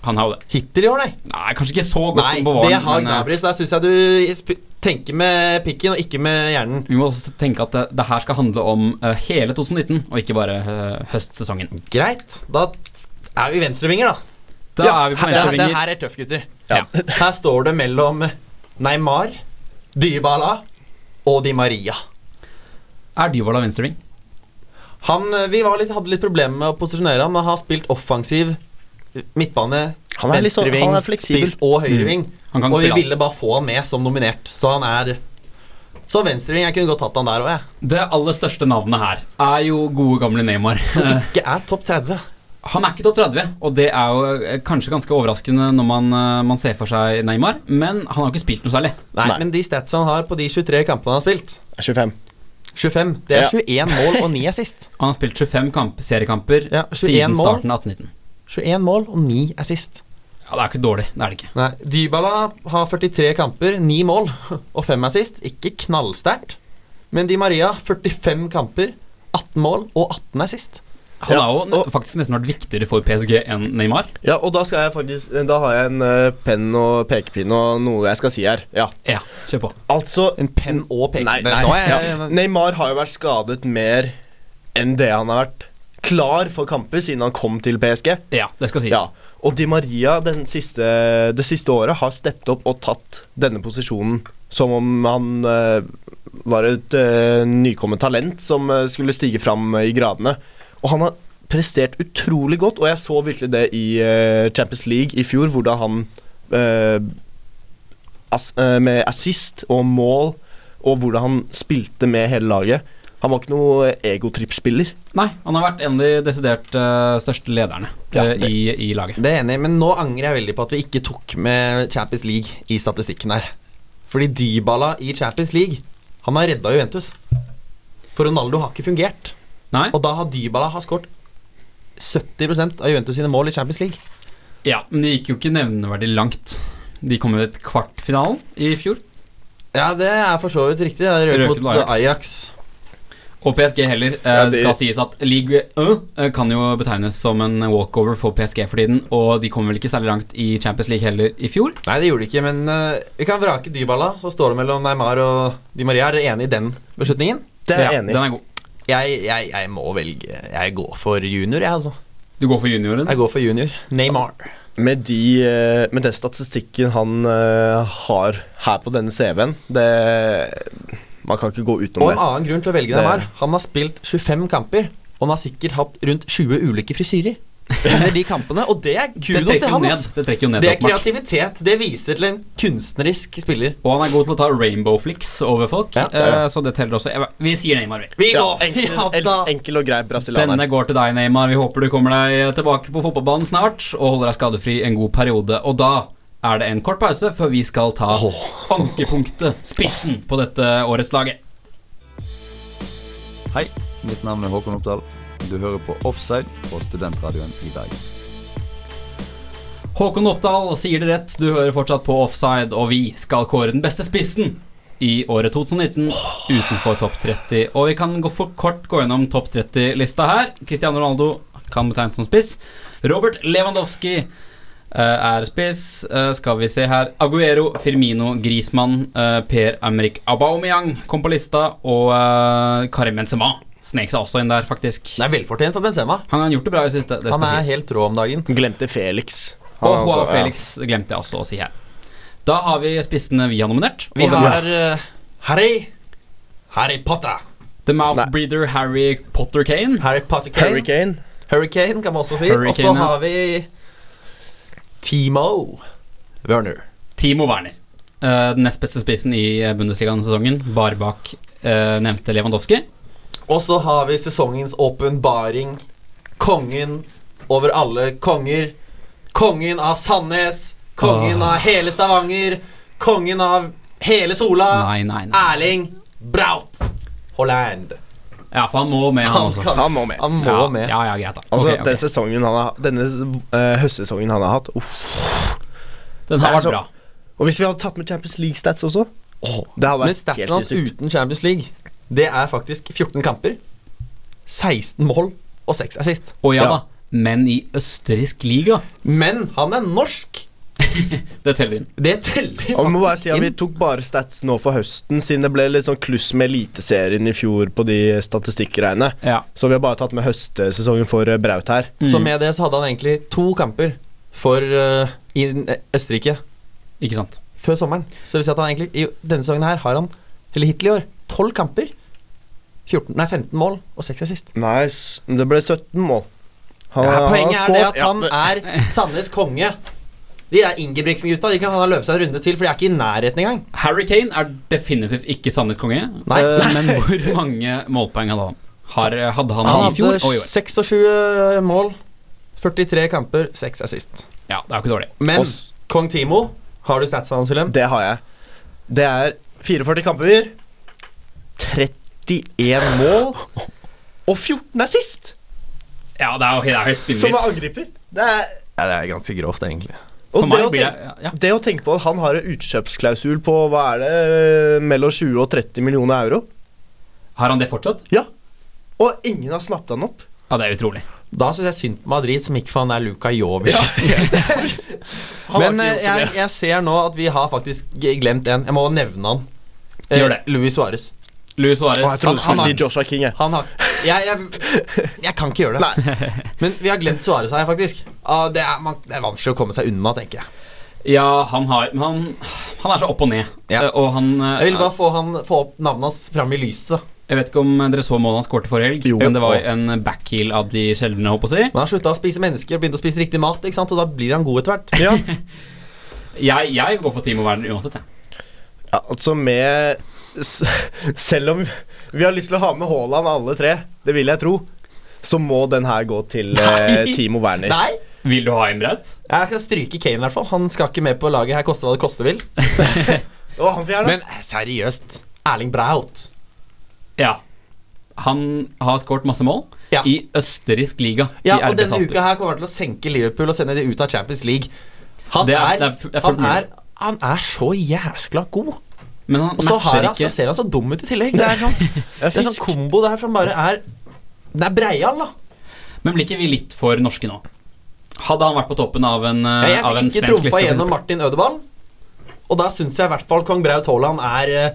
[SPEAKER 2] Han har jo det.
[SPEAKER 4] Hittil i år, nei.
[SPEAKER 2] Nei, kanskje ikke så godt
[SPEAKER 4] Nei,
[SPEAKER 2] som på våren.
[SPEAKER 4] det har
[SPEAKER 2] men, eh,
[SPEAKER 4] Gnabry, så der syns jeg du sp- tenker med pikken og ikke med hjernen.
[SPEAKER 2] vi må også tenke at det, det her skal handle om eh, hele 2019, og ikke bare eh, høstsesongen.
[SPEAKER 4] Greit, da er vi venstrevinger, da.
[SPEAKER 2] Da er vi på
[SPEAKER 4] her, den
[SPEAKER 2] venstrevinger.
[SPEAKER 4] her er tøff, gutter.
[SPEAKER 2] Ja.
[SPEAKER 4] Her står det mellom Neymar, Dybala og Di Maria.
[SPEAKER 2] Er Dybala venstreving?
[SPEAKER 4] Han, eh, vi var litt, hadde litt problemer med å posisjonere ham, men har spilt offensiv midtbane,
[SPEAKER 3] Han er litt sånn-
[SPEAKER 4] venstreving,
[SPEAKER 3] han er fleksibel.
[SPEAKER 4] spiss og høyreving.
[SPEAKER 2] Mm. Han kan
[SPEAKER 4] Og vi
[SPEAKER 2] spille alt.
[SPEAKER 4] ville bare få ham med som nominert, så han er Så venstreving, jeg kunne godt tatt han der òg, jeg.
[SPEAKER 2] Det aller største navnet her er jo gode, gamle Neymar. Eh,
[SPEAKER 4] Som
[SPEAKER 3] Sånn.
[SPEAKER 4] ikke er topp 30.
[SPEAKER 2] Han er ikke topp 30, og det er jo eh, kanskje ganske overraskende når man, eh, man ser for seg Neymar, men han har jo ikke spilt noe særlig.
[SPEAKER 4] Nei,
[SPEAKER 3] Nei.
[SPEAKER 4] men de statsa han har på de 23 kampene han har spilt
[SPEAKER 3] 25.
[SPEAKER 4] 25. Det er
[SPEAKER 3] Ja.
[SPEAKER 4] 21 mål og 9 assist.
[SPEAKER 2] Han har spilt 25 kamp, seriekamper
[SPEAKER 4] Ja, 21
[SPEAKER 2] siden
[SPEAKER 4] mål.
[SPEAKER 2] starten av 1819.
[SPEAKER 4] 21 mål og 9 assist.
[SPEAKER 2] Ja, det er ikke dårlig. Det er det ikke.
[SPEAKER 4] Nei, Dybala har 43 kamper, 9 mål og 5 assist. Ikke knallsterkt. Men Di Maria 45 kamper, 18 mål og 18 assist.
[SPEAKER 2] Han
[SPEAKER 3] Ja,
[SPEAKER 2] har jo ne-
[SPEAKER 3] og-
[SPEAKER 2] faktisk nesten vært viktigere for PSG enn Neymar.
[SPEAKER 3] Ja, og da skal jeg faktisk Da har jeg en eh, penn og pekepinn og noe jeg skal si her. Ja.
[SPEAKER 2] Ja, kjør på.
[SPEAKER 3] Altså
[SPEAKER 4] En penn og peke.
[SPEAKER 3] Nei,
[SPEAKER 4] Det-
[SPEAKER 3] nei.
[SPEAKER 4] Nå er jeg,
[SPEAKER 3] ja. Neymar har jo vært skadet mer enn det han har vært klar for kamper siden han kom til PSG.
[SPEAKER 2] Ja, det skal sies.
[SPEAKER 3] Ja. Og Di Maria den siste, det siste året har steppet opp og tatt denne posisjonen som om han eh, var et eh, nykommet talent som eh, skulle stige fram eh, i gradene. Og han har prestert utrolig godt, og jeg så virkelig det i eh, Champions League i fjor, hvordan han eh, ass, eh, med assist og mål, og hvordan han spilte med hele laget. Han var ikke noe egotrippspiller.
[SPEAKER 2] Nei, han har vært en av de desidert eh, største lederne
[SPEAKER 3] Ja,
[SPEAKER 2] eh,
[SPEAKER 3] det-
[SPEAKER 2] i, i laget.
[SPEAKER 4] Det er jeg enig, i, men nå angrer jeg veldig på at vi ikke tok med Champions League i statistikken her. Fordi Dybala i Champions League, han har redda Juventus. For Ronaldo har ikke fungert.
[SPEAKER 2] Nei?
[SPEAKER 4] Og da har Dybala har skåret 70 av Juventus sine mål i Champions League.
[SPEAKER 2] Ja, men det gikk jo ikke nevneverdig langt. De kom jo til kvartfinalen i fjor,
[SPEAKER 4] Ja, det er for så vidt riktig. Det er
[SPEAKER 2] Røket
[SPEAKER 4] røket
[SPEAKER 2] mot
[SPEAKER 4] mot
[SPEAKER 2] Ajax.
[SPEAKER 4] Ajax.
[SPEAKER 2] og PSG heller. Eh,
[SPEAKER 3] Ja, det-
[SPEAKER 2] Skal sies at league 1 eh, kan jo betegnes som en walkover for PSG for tiden, og de kom vel ikke særlig langt i Champions League heller i fjor.
[SPEAKER 4] Nei, det gjorde det ikke, men eh, vi kan vrake Dybala. Så står det mellom Neymar og Di Maria. Er dere enig i den beslutningen?
[SPEAKER 3] Det er jeg
[SPEAKER 2] Ja,
[SPEAKER 3] enig i.
[SPEAKER 2] Den er god.
[SPEAKER 4] Jeg, jeg, jeg må velge Jeg går for junior, jeg, altså.
[SPEAKER 2] Du går for junioren?
[SPEAKER 4] Jeg går for junior. Neymar.
[SPEAKER 3] Med, de, eh, med den statistikken han eh, har her på denne CV-en det, Man kan ikke gå utenom
[SPEAKER 4] Og en
[SPEAKER 3] det.
[SPEAKER 4] annen grunn til å velge
[SPEAKER 3] Det-
[SPEAKER 4] Neymar. Han har spilt 25 kamper, og han har sikkert hatt rundt 20 ulike frisyrer. under de kampene, og det er
[SPEAKER 2] Det
[SPEAKER 4] kudos
[SPEAKER 2] trekker
[SPEAKER 4] til
[SPEAKER 2] jo
[SPEAKER 4] han.
[SPEAKER 2] ned.
[SPEAKER 4] ass.
[SPEAKER 2] Det trekker jo ned
[SPEAKER 4] Det er
[SPEAKER 2] åpenbart.
[SPEAKER 4] kreativitet. Det viser til en kunstnerisk spiller.
[SPEAKER 2] Og han er god til å ta rainbow flicks over folk,
[SPEAKER 4] Ja,
[SPEAKER 3] det er det.
[SPEAKER 2] eh, så det teller også. Jeg- Vi sier Neymar, vi.
[SPEAKER 4] Vi
[SPEAKER 3] Ja,
[SPEAKER 4] går!
[SPEAKER 3] enkel,
[SPEAKER 4] Ja,
[SPEAKER 3] en-
[SPEAKER 4] da.
[SPEAKER 3] enkel og grei brasilianer.
[SPEAKER 2] Denne går til deg, Neymar. Vi håper du kommer deg eh, tilbake på fotballbanen snart og holder deg skadefri en god periode. Og da er det en kort pause før vi skal ta ankepunktet, spissen, på dette årets laget.
[SPEAKER 8] Hei, mitt navn er Håkon Oppdal. Du hører på Offside på Studentradioen i Bergen.
[SPEAKER 2] Håkon Oppdal sier det rett, du hører fortsatt på offside, og vi skal kåre den beste spissen i året 2019 utenfor topp 30. Og vi kan gå fort kort gå gjennom topp 30-lista her. Cristiano Ronaldo kan betegnes som spiss. Robert Lewandowski eh, er spiss. Eh, skal vi se her Aguero, Firmino, Griezmann, eh, Per-Emrik Aubameyang kom på lista, og eh, Karim Benzema snek seg også inn der, faktisk.
[SPEAKER 4] Det er velfortjent for Benzema.
[SPEAKER 2] Han har gjort det bra i det siste. Det
[SPEAKER 4] Han
[SPEAKER 2] skal
[SPEAKER 4] er
[SPEAKER 2] sies.
[SPEAKER 4] helt rå om dagen.
[SPEAKER 3] Glemte Felix.
[SPEAKER 2] Og Joao
[SPEAKER 3] Han altså, ja.
[SPEAKER 2] Felix glemte jeg også å si her. Da har vi spissene vi har nominert.
[SPEAKER 4] Vi har eh, Harry Harry Potter.
[SPEAKER 2] The Mouthbreather Harry Potter Kane.
[SPEAKER 4] Harry Potter Kane.
[SPEAKER 3] Hurricane.
[SPEAKER 4] Hurricane kan man også si. Og
[SPEAKER 2] Hurricane,
[SPEAKER 4] så
[SPEAKER 2] ja.
[SPEAKER 4] har vi Timo Werner.
[SPEAKER 2] Timo Werner. Eh, den nest beste spissen i eh, Bundesligaen denne sesongen. Bare bak eh, nevnte Lewandowski.
[SPEAKER 4] Og så har vi sesongens åpenbaring. Kongen over alle konger. Kongen av Sandnes. Kongen
[SPEAKER 2] Åh.
[SPEAKER 4] av hele Stavanger. Kongen av hele Sola.
[SPEAKER 2] Nei, nei, nei.
[SPEAKER 4] Erling Braut Haaland.
[SPEAKER 2] Ja, for han må med, han også.
[SPEAKER 4] kan-
[SPEAKER 3] Han må med.
[SPEAKER 4] Han må
[SPEAKER 2] Ja,
[SPEAKER 4] med.
[SPEAKER 2] ja, ja, greit, da.
[SPEAKER 3] Altså,
[SPEAKER 2] Ok, ok.
[SPEAKER 3] Den sesongen han har, denne eh, høstsesongen han har hatt uff.
[SPEAKER 2] Den har
[SPEAKER 3] Nei, så-
[SPEAKER 2] vært bra.
[SPEAKER 3] Og hvis vi hadde tatt med Champions League-stats også Det hadde
[SPEAKER 4] Men
[SPEAKER 3] vært
[SPEAKER 4] statsen
[SPEAKER 3] helt
[SPEAKER 4] hans
[SPEAKER 3] sinnssykt.
[SPEAKER 4] uten Champions League, det er faktisk 14 kamper, 16 mål og 6 assist.
[SPEAKER 2] Å ja
[SPEAKER 3] Ja.
[SPEAKER 2] da. Men i østerriksk liga.
[SPEAKER 4] Men han er norsk.
[SPEAKER 2] Det teller inn.
[SPEAKER 4] Det teller
[SPEAKER 3] Og vi må bare
[SPEAKER 4] faktisk
[SPEAKER 3] si at Vi
[SPEAKER 4] inn.
[SPEAKER 3] tok bare stats nå for høsten, siden det ble litt sånn kluss med Eliteserien i fjor på de statistikkgreiene.
[SPEAKER 2] Ja.
[SPEAKER 3] Så vi har bare tatt med høstsesongen for eh, Braut her.
[SPEAKER 2] Mm.
[SPEAKER 4] Så med det så hadde han egentlig to kamper for eh, i eh, Østerrike
[SPEAKER 2] Ikke sant.
[SPEAKER 4] før sommeren. Så det vil si at han egentlig i denne sesongen her har han, eller hittil i år, 12 kamper. 14, nei, 15 mål og 6 assist.
[SPEAKER 3] Nice. Men Det ble 17 mål. Han-
[SPEAKER 4] Ja,
[SPEAKER 3] han har
[SPEAKER 4] poenget er det
[SPEAKER 3] scoret-
[SPEAKER 4] at
[SPEAKER 3] Ja,
[SPEAKER 4] han
[SPEAKER 3] men-
[SPEAKER 4] er Sandnes konge. De er Ingebrigtsen-gutta. De kan han ha løpt seg en runde til, for de er ikke i nærheten engang.
[SPEAKER 2] Harry Kane er definitivt ikke Sandnes konge,
[SPEAKER 4] Nei.
[SPEAKER 2] eh, men hvor mange målpoeng hadde han? Har, hadde han,
[SPEAKER 4] Han
[SPEAKER 2] i fjor
[SPEAKER 4] hadde
[SPEAKER 2] og i år?
[SPEAKER 4] 26 eh, mål, 43 kamper, 6 assist.
[SPEAKER 2] Ja, det er jo ikke dårlig.
[SPEAKER 4] Men
[SPEAKER 3] Oss.
[SPEAKER 4] kong Timo, har du statsa hans, Wilhelm?
[SPEAKER 3] Det har jeg. Det er 44 kamper, 31 mål og 14 er sist!
[SPEAKER 2] Ja, det er jo det er helt
[SPEAKER 3] Som
[SPEAKER 2] spinnvilt.
[SPEAKER 3] er angriper. Det er
[SPEAKER 4] Ja, det er ganske grovt, egentlig.
[SPEAKER 2] For
[SPEAKER 3] og det
[SPEAKER 2] meg
[SPEAKER 3] å
[SPEAKER 2] blir
[SPEAKER 3] tenke-
[SPEAKER 2] det ja, ja.
[SPEAKER 3] Det å tenke på at han har en utkjøpsklausul på hva er det, mellom 20 og 30 millioner euro,
[SPEAKER 2] Har han det fortsatt?
[SPEAKER 3] og ingen har snappet han opp
[SPEAKER 2] Ja, det er utrolig.
[SPEAKER 4] Da syns jeg synd på Madrid, som ikke faen er Luka Jovic. i stedet.
[SPEAKER 3] Han
[SPEAKER 4] Men
[SPEAKER 3] har ikke
[SPEAKER 4] eh,
[SPEAKER 3] gjort så
[SPEAKER 4] jeg,
[SPEAKER 3] mye.
[SPEAKER 4] jeg ser nå at vi har faktisk g- glemt en. Jeg må nevne han. Eh,
[SPEAKER 2] Gjør det.
[SPEAKER 4] Luis Suárez.
[SPEAKER 2] Luis Suárez
[SPEAKER 3] Å, Jeg trodde du
[SPEAKER 2] han-
[SPEAKER 3] skulle si
[SPEAKER 2] han-
[SPEAKER 3] Joshua King. Jeg.
[SPEAKER 4] Han har Jeg, jeg, jeg kan ikke gjøre det. Men vi har glemt Suárez her, faktisk. Ah, det, er, man, det er vanskelig å komme seg unna, tenker jeg.
[SPEAKER 2] Ja, han har Men han, han er så opp og ned.
[SPEAKER 4] Ja.
[SPEAKER 2] Eh, Og han eh,
[SPEAKER 4] Jeg vil bare få, han, få opp navnet hans fram i lyset.
[SPEAKER 2] Jeg vet ikke om dere så målet han skåret forrige helg.
[SPEAKER 3] Jo.
[SPEAKER 2] Men det var en backheel av de sjeldne, holdt på å si.
[SPEAKER 4] Men han slutta å spise mennesker og begynte å spise riktig mat, ikke sant? og da blir han god etter hvert.
[SPEAKER 3] Ja.
[SPEAKER 2] Jeg, jeg går for Timo Werner uansett, jeg.
[SPEAKER 3] ja, altså med s- Selv om vi har lyst til å ha med Haaland alle tre, det vil jeg tro, så må den her gå til eh,
[SPEAKER 4] Nei.
[SPEAKER 3] Timo Werner.
[SPEAKER 4] Nei!
[SPEAKER 2] Vil du ha en braut?
[SPEAKER 4] Jeg skal stryke Kane, i hvert fall. Han skal ikke med på laget her, koste hva det koste vil.
[SPEAKER 3] Og han får gjerne
[SPEAKER 4] Men seriøst, Erling Braut
[SPEAKER 2] Ja. Han har skåret masse mål
[SPEAKER 4] Ja.
[SPEAKER 2] i østerriksk liga.
[SPEAKER 4] Ja,
[SPEAKER 2] i
[SPEAKER 4] og
[SPEAKER 2] RB
[SPEAKER 4] denne
[SPEAKER 2] Salzburg.
[SPEAKER 4] uka her kommer han til å senke Liverpool og sende de ut av Champions League. Han
[SPEAKER 2] Det er-
[SPEAKER 4] er,
[SPEAKER 2] det er fu- det er fullt
[SPEAKER 4] han, er,
[SPEAKER 2] mulig.
[SPEAKER 4] han er så jæskla god.
[SPEAKER 2] Men han
[SPEAKER 4] Og så, har
[SPEAKER 2] matcher
[SPEAKER 4] han, altså- så
[SPEAKER 2] ikke
[SPEAKER 4] ser han så dum ut i tillegg. Det er sånn, det er sånn
[SPEAKER 3] fisk.
[SPEAKER 4] kombo der som bare er Det er Breial, da.
[SPEAKER 2] Men blir ikke vi litt for norske nå? Hadde han vært på toppen av en, eh,
[SPEAKER 4] Jeg
[SPEAKER 2] av
[SPEAKER 4] fikk
[SPEAKER 2] en
[SPEAKER 4] ikke
[SPEAKER 2] svensk liste
[SPEAKER 4] trumfa
[SPEAKER 2] for
[SPEAKER 4] gjennom
[SPEAKER 2] eksempel.
[SPEAKER 4] Martin Ødeball, og da syns jeg i hvert fall kong Braut Haaland er eh,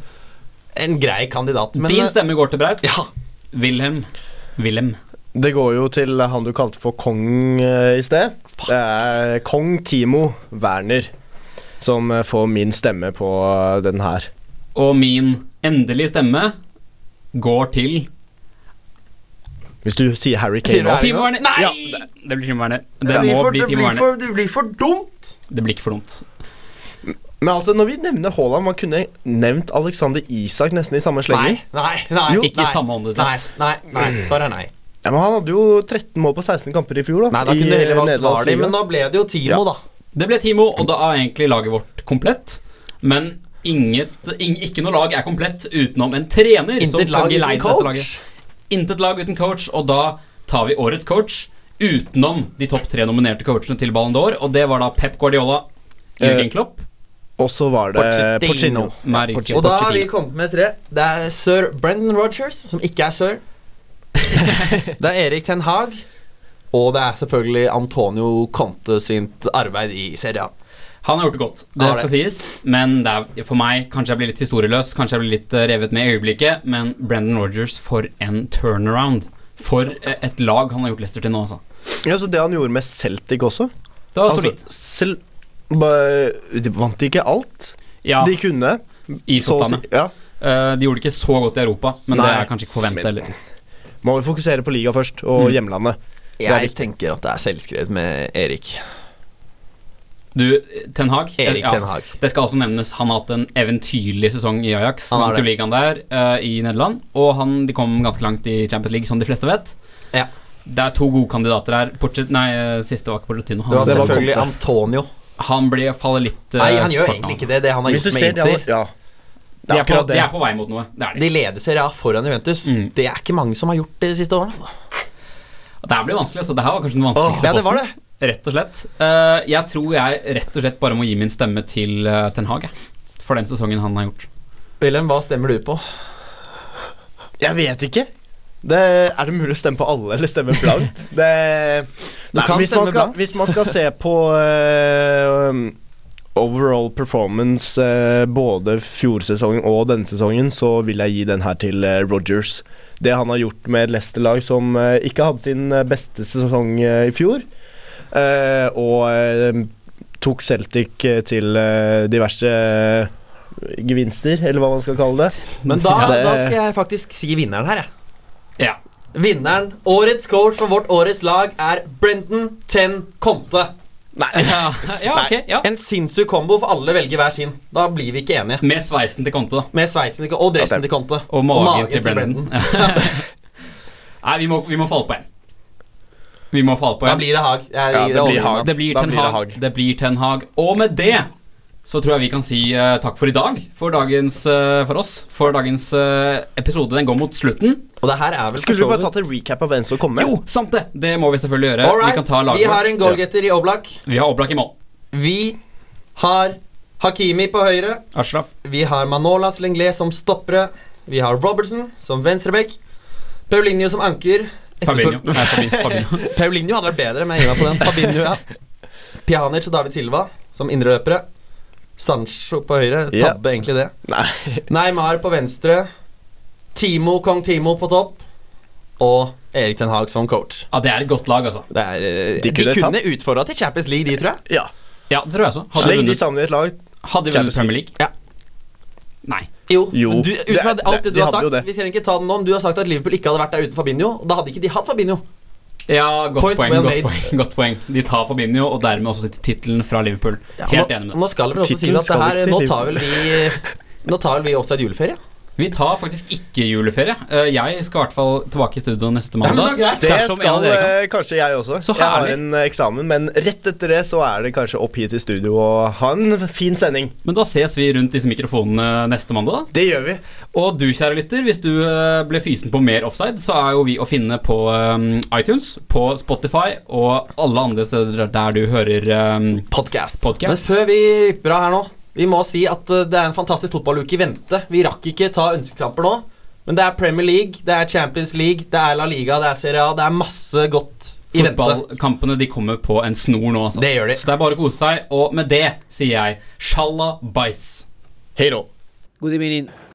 [SPEAKER 4] en grei kandidat. Men
[SPEAKER 2] Din
[SPEAKER 4] eh,
[SPEAKER 2] stemme går til Braut.
[SPEAKER 4] ja,
[SPEAKER 2] Wilhelm. Wilhelm.
[SPEAKER 3] Det går jo til han du kalte for kong eh, i sted. Det er kong Timo Werner som eh, får min stemme på eh, den her.
[SPEAKER 2] Og min endelige stemme går til
[SPEAKER 3] Hvis du sier Harry
[SPEAKER 4] Sier du
[SPEAKER 3] Kane nå
[SPEAKER 4] Harry?
[SPEAKER 2] Team Werner.
[SPEAKER 4] Nei!
[SPEAKER 2] Ja, det, det blir Team Werner. Det må bli Team Werner.
[SPEAKER 4] for, det blir for dumt!
[SPEAKER 2] Det blir ikke for dumt.
[SPEAKER 3] Men altså, når vi nevner Haaland, man kunne nevnt Alexander Isak nesten i
[SPEAKER 4] Nei,
[SPEAKER 3] samme slenge.
[SPEAKER 4] nei, nei.
[SPEAKER 3] Jo.
[SPEAKER 2] Ikke
[SPEAKER 4] nei,
[SPEAKER 2] i samme åndedrett.
[SPEAKER 4] Nei, nei, nei. Svaret er nei.
[SPEAKER 3] Ja, men han hadde jo 13 mål på 16 kamper i fjor, da.
[SPEAKER 4] Nei, Da
[SPEAKER 3] i,
[SPEAKER 4] kunne du heller
[SPEAKER 3] eh,
[SPEAKER 4] valgt
[SPEAKER 3] Nederlands
[SPEAKER 4] Vardy,
[SPEAKER 3] liga.
[SPEAKER 4] men da ble det jo Timo,
[SPEAKER 3] Ja.
[SPEAKER 4] da.
[SPEAKER 2] Det ble Timo, og da er egentlig laget vårt komplett. Men inget, ing, ikke noe lag er komplett utenom en trener som
[SPEAKER 4] Intet
[SPEAKER 2] skal
[SPEAKER 4] lag
[SPEAKER 2] geleide dette
[SPEAKER 4] uten coach.
[SPEAKER 2] laget. Intet lag uten coach, og da tar vi årets coach utenom de topp tre nominerte coachene til Ballon d'Or, og det var da Pep Guardiola, Jürgen
[SPEAKER 3] Eh,
[SPEAKER 2] Klopp,
[SPEAKER 3] Og så var det
[SPEAKER 4] Pochettino.
[SPEAKER 3] Pochettino.
[SPEAKER 2] Mauricio
[SPEAKER 4] Og da har vi
[SPEAKER 2] Pochettino.
[SPEAKER 4] kommet med tre. Det er sir Brendan Rogers, som ikke er sir. det er Erik Ten Hag. Og det er selvfølgelig Antonio Conte sitt arbeid i Serie A.
[SPEAKER 2] Han har gjort det godt, det
[SPEAKER 4] Han har
[SPEAKER 2] skal sies, men det er for meg Kanskje jeg blir litt historieløs, kanskje jeg blir litt eh, revet med i øyeblikket, men Brendan Rogers, for en turnaround. For eh, et lag han har gjort Leicester til nå, altså.
[SPEAKER 3] Ja, så det han gjorde med Celtic også
[SPEAKER 2] Det var
[SPEAKER 3] altså,
[SPEAKER 2] solid.
[SPEAKER 3] selv, ba, De vant ikke alt
[SPEAKER 2] Ja,
[SPEAKER 3] de kunne.
[SPEAKER 2] i
[SPEAKER 3] Så å si.
[SPEAKER 2] soppene.
[SPEAKER 3] Ja.
[SPEAKER 2] Eh, de gjorde det ikke så godt i Europa, men det
[SPEAKER 3] Nei.
[SPEAKER 2] er kanskje ikke forventet
[SPEAKER 3] Men-
[SPEAKER 2] heller.
[SPEAKER 3] Må jo fokusere på liga først, og hjemlandet.
[SPEAKER 4] Jeg tenker at det er selvskrevet med Erik.
[SPEAKER 2] Du, Ten Hag, eh,
[SPEAKER 4] Erik
[SPEAKER 2] ja,
[SPEAKER 4] Ten Hag.
[SPEAKER 2] Det skal også nevnes han har hatt en eventyrlig sesong i Ajax.
[SPEAKER 4] Han
[SPEAKER 2] Han
[SPEAKER 4] har
[SPEAKER 2] vant jo
[SPEAKER 4] det.
[SPEAKER 2] ligaen der eh, i Nederland, og han, de kom ganske langt i Champions League, som de fleste vet.
[SPEAKER 4] Ja.
[SPEAKER 2] Det er to gode kandidater her. Porchet, nei, eh, siste var ikke Porcetino.
[SPEAKER 4] Du har
[SPEAKER 3] Det var
[SPEAKER 4] selvfølgelig
[SPEAKER 3] Conte.
[SPEAKER 4] Antonio.
[SPEAKER 2] Han blir, faller litt eh,
[SPEAKER 4] Nei, han gjør
[SPEAKER 2] kort nå,
[SPEAKER 4] egentlig
[SPEAKER 2] altså.
[SPEAKER 4] ikke det. Det han har
[SPEAKER 3] Hvis du
[SPEAKER 4] gjort med
[SPEAKER 3] ser det
[SPEAKER 4] Inter.
[SPEAKER 3] han, Ja. Det
[SPEAKER 2] De
[SPEAKER 3] er
[SPEAKER 2] er, på,
[SPEAKER 3] akkurat det.
[SPEAKER 2] de er på vei mot noe. Det er de.
[SPEAKER 4] De leder Serie A foran Juventus.
[SPEAKER 2] Mm.
[SPEAKER 4] Det er ikke mange som har gjort det de siste årene.
[SPEAKER 2] Det her blir vanskelig, altså. Det her var kanskje den
[SPEAKER 4] Åh,
[SPEAKER 2] vanskeligste
[SPEAKER 4] ja, det var
[SPEAKER 2] posten.
[SPEAKER 4] det.
[SPEAKER 2] Rett og slett. Eh, jeg tror jeg rett og slett bare må gi min stemme til eh, Ten Hag, jeg. For den sesongen han har gjort.
[SPEAKER 4] Wilhelm, hva stemmer du på?
[SPEAKER 3] Jeg vet ikke. Det, er det mulig å stemme på alle, eller stemme blankt? Det,
[SPEAKER 4] Du kan
[SPEAKER 3] hvis, man
[SPEAKER 4] stemme
[SPEAKER 3] skal,
[SPEAKER 4] blankt.
[SPEAKER 3] hvis man skal se på eh, um, overall performance eh, både fjorsesongen og denne sesongen, så vil jeg gi den her til eh, Rogers. Det han har gjort med et Leicester-lag som eh, ikke hadde sin eh, beste sesong eh, i fjor, eh, og eh, tok Celtic eh, til eh, diverse eh, gevinster, eller hva man skal kalle det.
[SPEAKER 4] Men da,
[SPEAKER 3] Ja, det-
[SPEAKER 4] da skal jeg faktisk si vinneren her, jeg.
[SPEAKER 2] Ja.
[SPEAKER 4] Vinneren, årets coach for vårt årets lag, er Brendan Ten Conte.
[SPEAKER 2] ja, ja, ok. Ja.
[SPEAKER 4] En sinnssyk kombo, for alle velger hver sin. Da blir vi ikke enige.
[SPEAKER 2] Med sveisen til Conte, da.
[SPEAKER 4] Med sveitsen til- og dressen
[SPEAKER 3] Ja, det-
[SPEAKER 4] til Conte.
[SPEAKER 2] Og magen, til Brendan.
[SPEAKER 4] Brendan.
[SPEAKER 2] Nei, vi må, vi må falle på en. Vi må falle på
[SPEAKER 4] Da
[SPEAKER 2] en.
[SPEAKER 4] blir det Hag. Jeg,
[SPEAKER 3] Ja, det
[SPEAKER 4] jeg
[SPEAKER 3] blir
[SPEAKER 4] overgir
[SPEAKER 3] Hag.
[SPEAKER 4] meg.
[SPEAKER 2] Det blir
[SPEAKER 3] Da
[SPEAKER 2] Ten
[SPEAKER 3] blir det
[SPEAKER 2] Hag. Det blir Ten Hag. Og med det så tror jeg vi kan si eh, takk for i dag. For dagens eh, For oss. For dagens eh, episode. Den går mot slutten.
[SPEAKER 4] Og det her er vel for
[SPEAKER 3] Skulle vi
[SPEAKER 4] så
[SPEAKER 3] bare
[SPEAKER 4] vidt-
[SPEAKER 3] tatt en recap av hvem som kom med?
[SPEAKER 2] Jo, sant det! Det må vi selvfølgelig gjøre.
[SPEAKER 4] All right,
[SPEAKER 2] Vi kan ta
[SPEAKER 4] vi
[SPEAKER 2] laget
[SPEAKER 4] har
[SPEAKER 2] vårt.
[SPEAKER 4] en goalgetter i Oblak.
[SPEAKER 2] Vi har Oblak i mål.
[SPEAKER 4] Vi har Hakimi på høyre.
[SPEAKER 2] Ashraf.
[SPEAKER 4] Vi har Manolas Lenglet som stoppere. Vi har Robertson som venstreback. Paulinho som anker.
[SPEAKER 2] Fabinho. Nei, Fabinho. Fabinho.
[SPEAKER 4] Paulinho hadde vært bedre, men jeg gir meg på den. Fabinho, ja. Pjanic og David Silva som indreløpere. Sancho på høyre.
[SPEAKER 3] Ja.
[SPEAKER 4] Tabbe, egentlig det.
[SPEAKER 3] Nei.
[SPEAKER 4] Neymar på venstre. Timo, kong Timo på topp. Og Erik Ten Hag som coach.
[SPEAKER 2] Ja, det er et godt lag, altså.
[SPEAKER 4] Det er, eh,
[SPEAKER 3] De kunne tatt-
[SPEAKER 4] utfordra til Champions League, de, tror jeg.
[SPEAKER 3] Ja.
[SPEAKER 2] Ja, det tror jeg også. Hadde de
[SPEAKER 3] Sleng de
[SPEAKER 2] vunnet,
[SPEAKER 3] sammen i et lag.
[SPEAKER 2] hadde de
[SPEAKER 3] Champions
[SPEAKER 2] vunnet Premier League?
[SPEAKER 4] Ja.
[SPEAKER 2] Nei.
[SPEAKER 4] Jo,
[SPEAKER 3] Jo,
[SPEAKER 4] men Du, ut fra
[SPEAKER 3] det-
[SPEAKER 4] alt det
[SPEAKER 3] det-
[SPEAKER 4] du
[SPEAKER 3] de
[SPEAKER 4] har
[SPEAKER 3] hadde jo
[SPEAKER 4] sagt
[SPEAKER 3] det.
[SPEAKER 4] Vi trenger ikke ta den nå, men du har sagt at Liverpool ikke hadde vært der uten Fabinho. og Da hadde ikke de hatt Fabinho.
[SPEAKER 2] Ja, godt
[SPEAKER 4] Point
[SPEAKER 2] poeng,
[SPEAKER 4] well
[SPEAKER 2] godt
[SPEAKER 4] made.
[SPEAKER 2] poeng, godt poeng. De tar Fabinho, og dermed også tittelen fra Liverpool. Helt
[SPEAKER 4] nå,
[SPEAKER 2] enig med deg.
[SPEAKER 4] nå skal det vel også
[SPEAKER 3] Tittelen
[SPEAKER 4] sies at
[SPEAKER 3] skal
[SPEAKER 4] det her,
[SPEAKER 3] ikke til
[SPEAKER 4] nå tar vel vi Nå tar vel vi offside juleferie.
[SPEAKER 2] Vi tar faktisk ikke juleferie. Eh, Jeg skal i hvert fall tilbake i studio neste
[SPEAKER 4] men
[SPEAKER 2] mandag.
[SPEAKER 4] så greit.
[SPEAKER 3] Det
[SPEAKER 2] Dersom en av
[SPEAKER 3] skal
[SPEAKER 2] dere kan.
[SPEAKER 3] eh, kanskje jeg også.
[SPEAKER 2] Så
[SPEAKER 3] Jeg har
[SPEAKER 2] herlig.
[SPEAKER 3] en eh, eksamen, men rett etter det så er det kanskje opp hit i studio og ha en fin sending.
[SPEAKER 2] Men da ses vi rundt disse mikrofonene neste mandag, da.
[SPEAKER 3] Det gjør vi.
[SPEAKER 2] Og du, kjære lytter, hvis du eh, ble fysen på mer offside, så er jo vi å finne på eh, iTunes, på Spotify og alle andre steder der du hører eh,
[SPEAKER 4] Podcast.
[SPEAKER 2] Podcast.
[SPEAKER 4] Men før vi ypper av her nå Vi må si at uh, det er en fantastisk fotballuke i vente. Vi rakk ikke ta ønskekamper nå. Men det er Premier League, det er Champions League, det er La Liga, det er Serie A. Det er masse godt i vente.
[SPEAKER 2] Fotballkampene de kommer på en snor nå, altså.
[SPEAKER 4] Det gjør de.
[SPEAKER 2] Så det er bare å kose seg. Og med det sier jeg shalabais.
[SPEAKER 3] Hei då.
[SPEAKER 9] Good evening.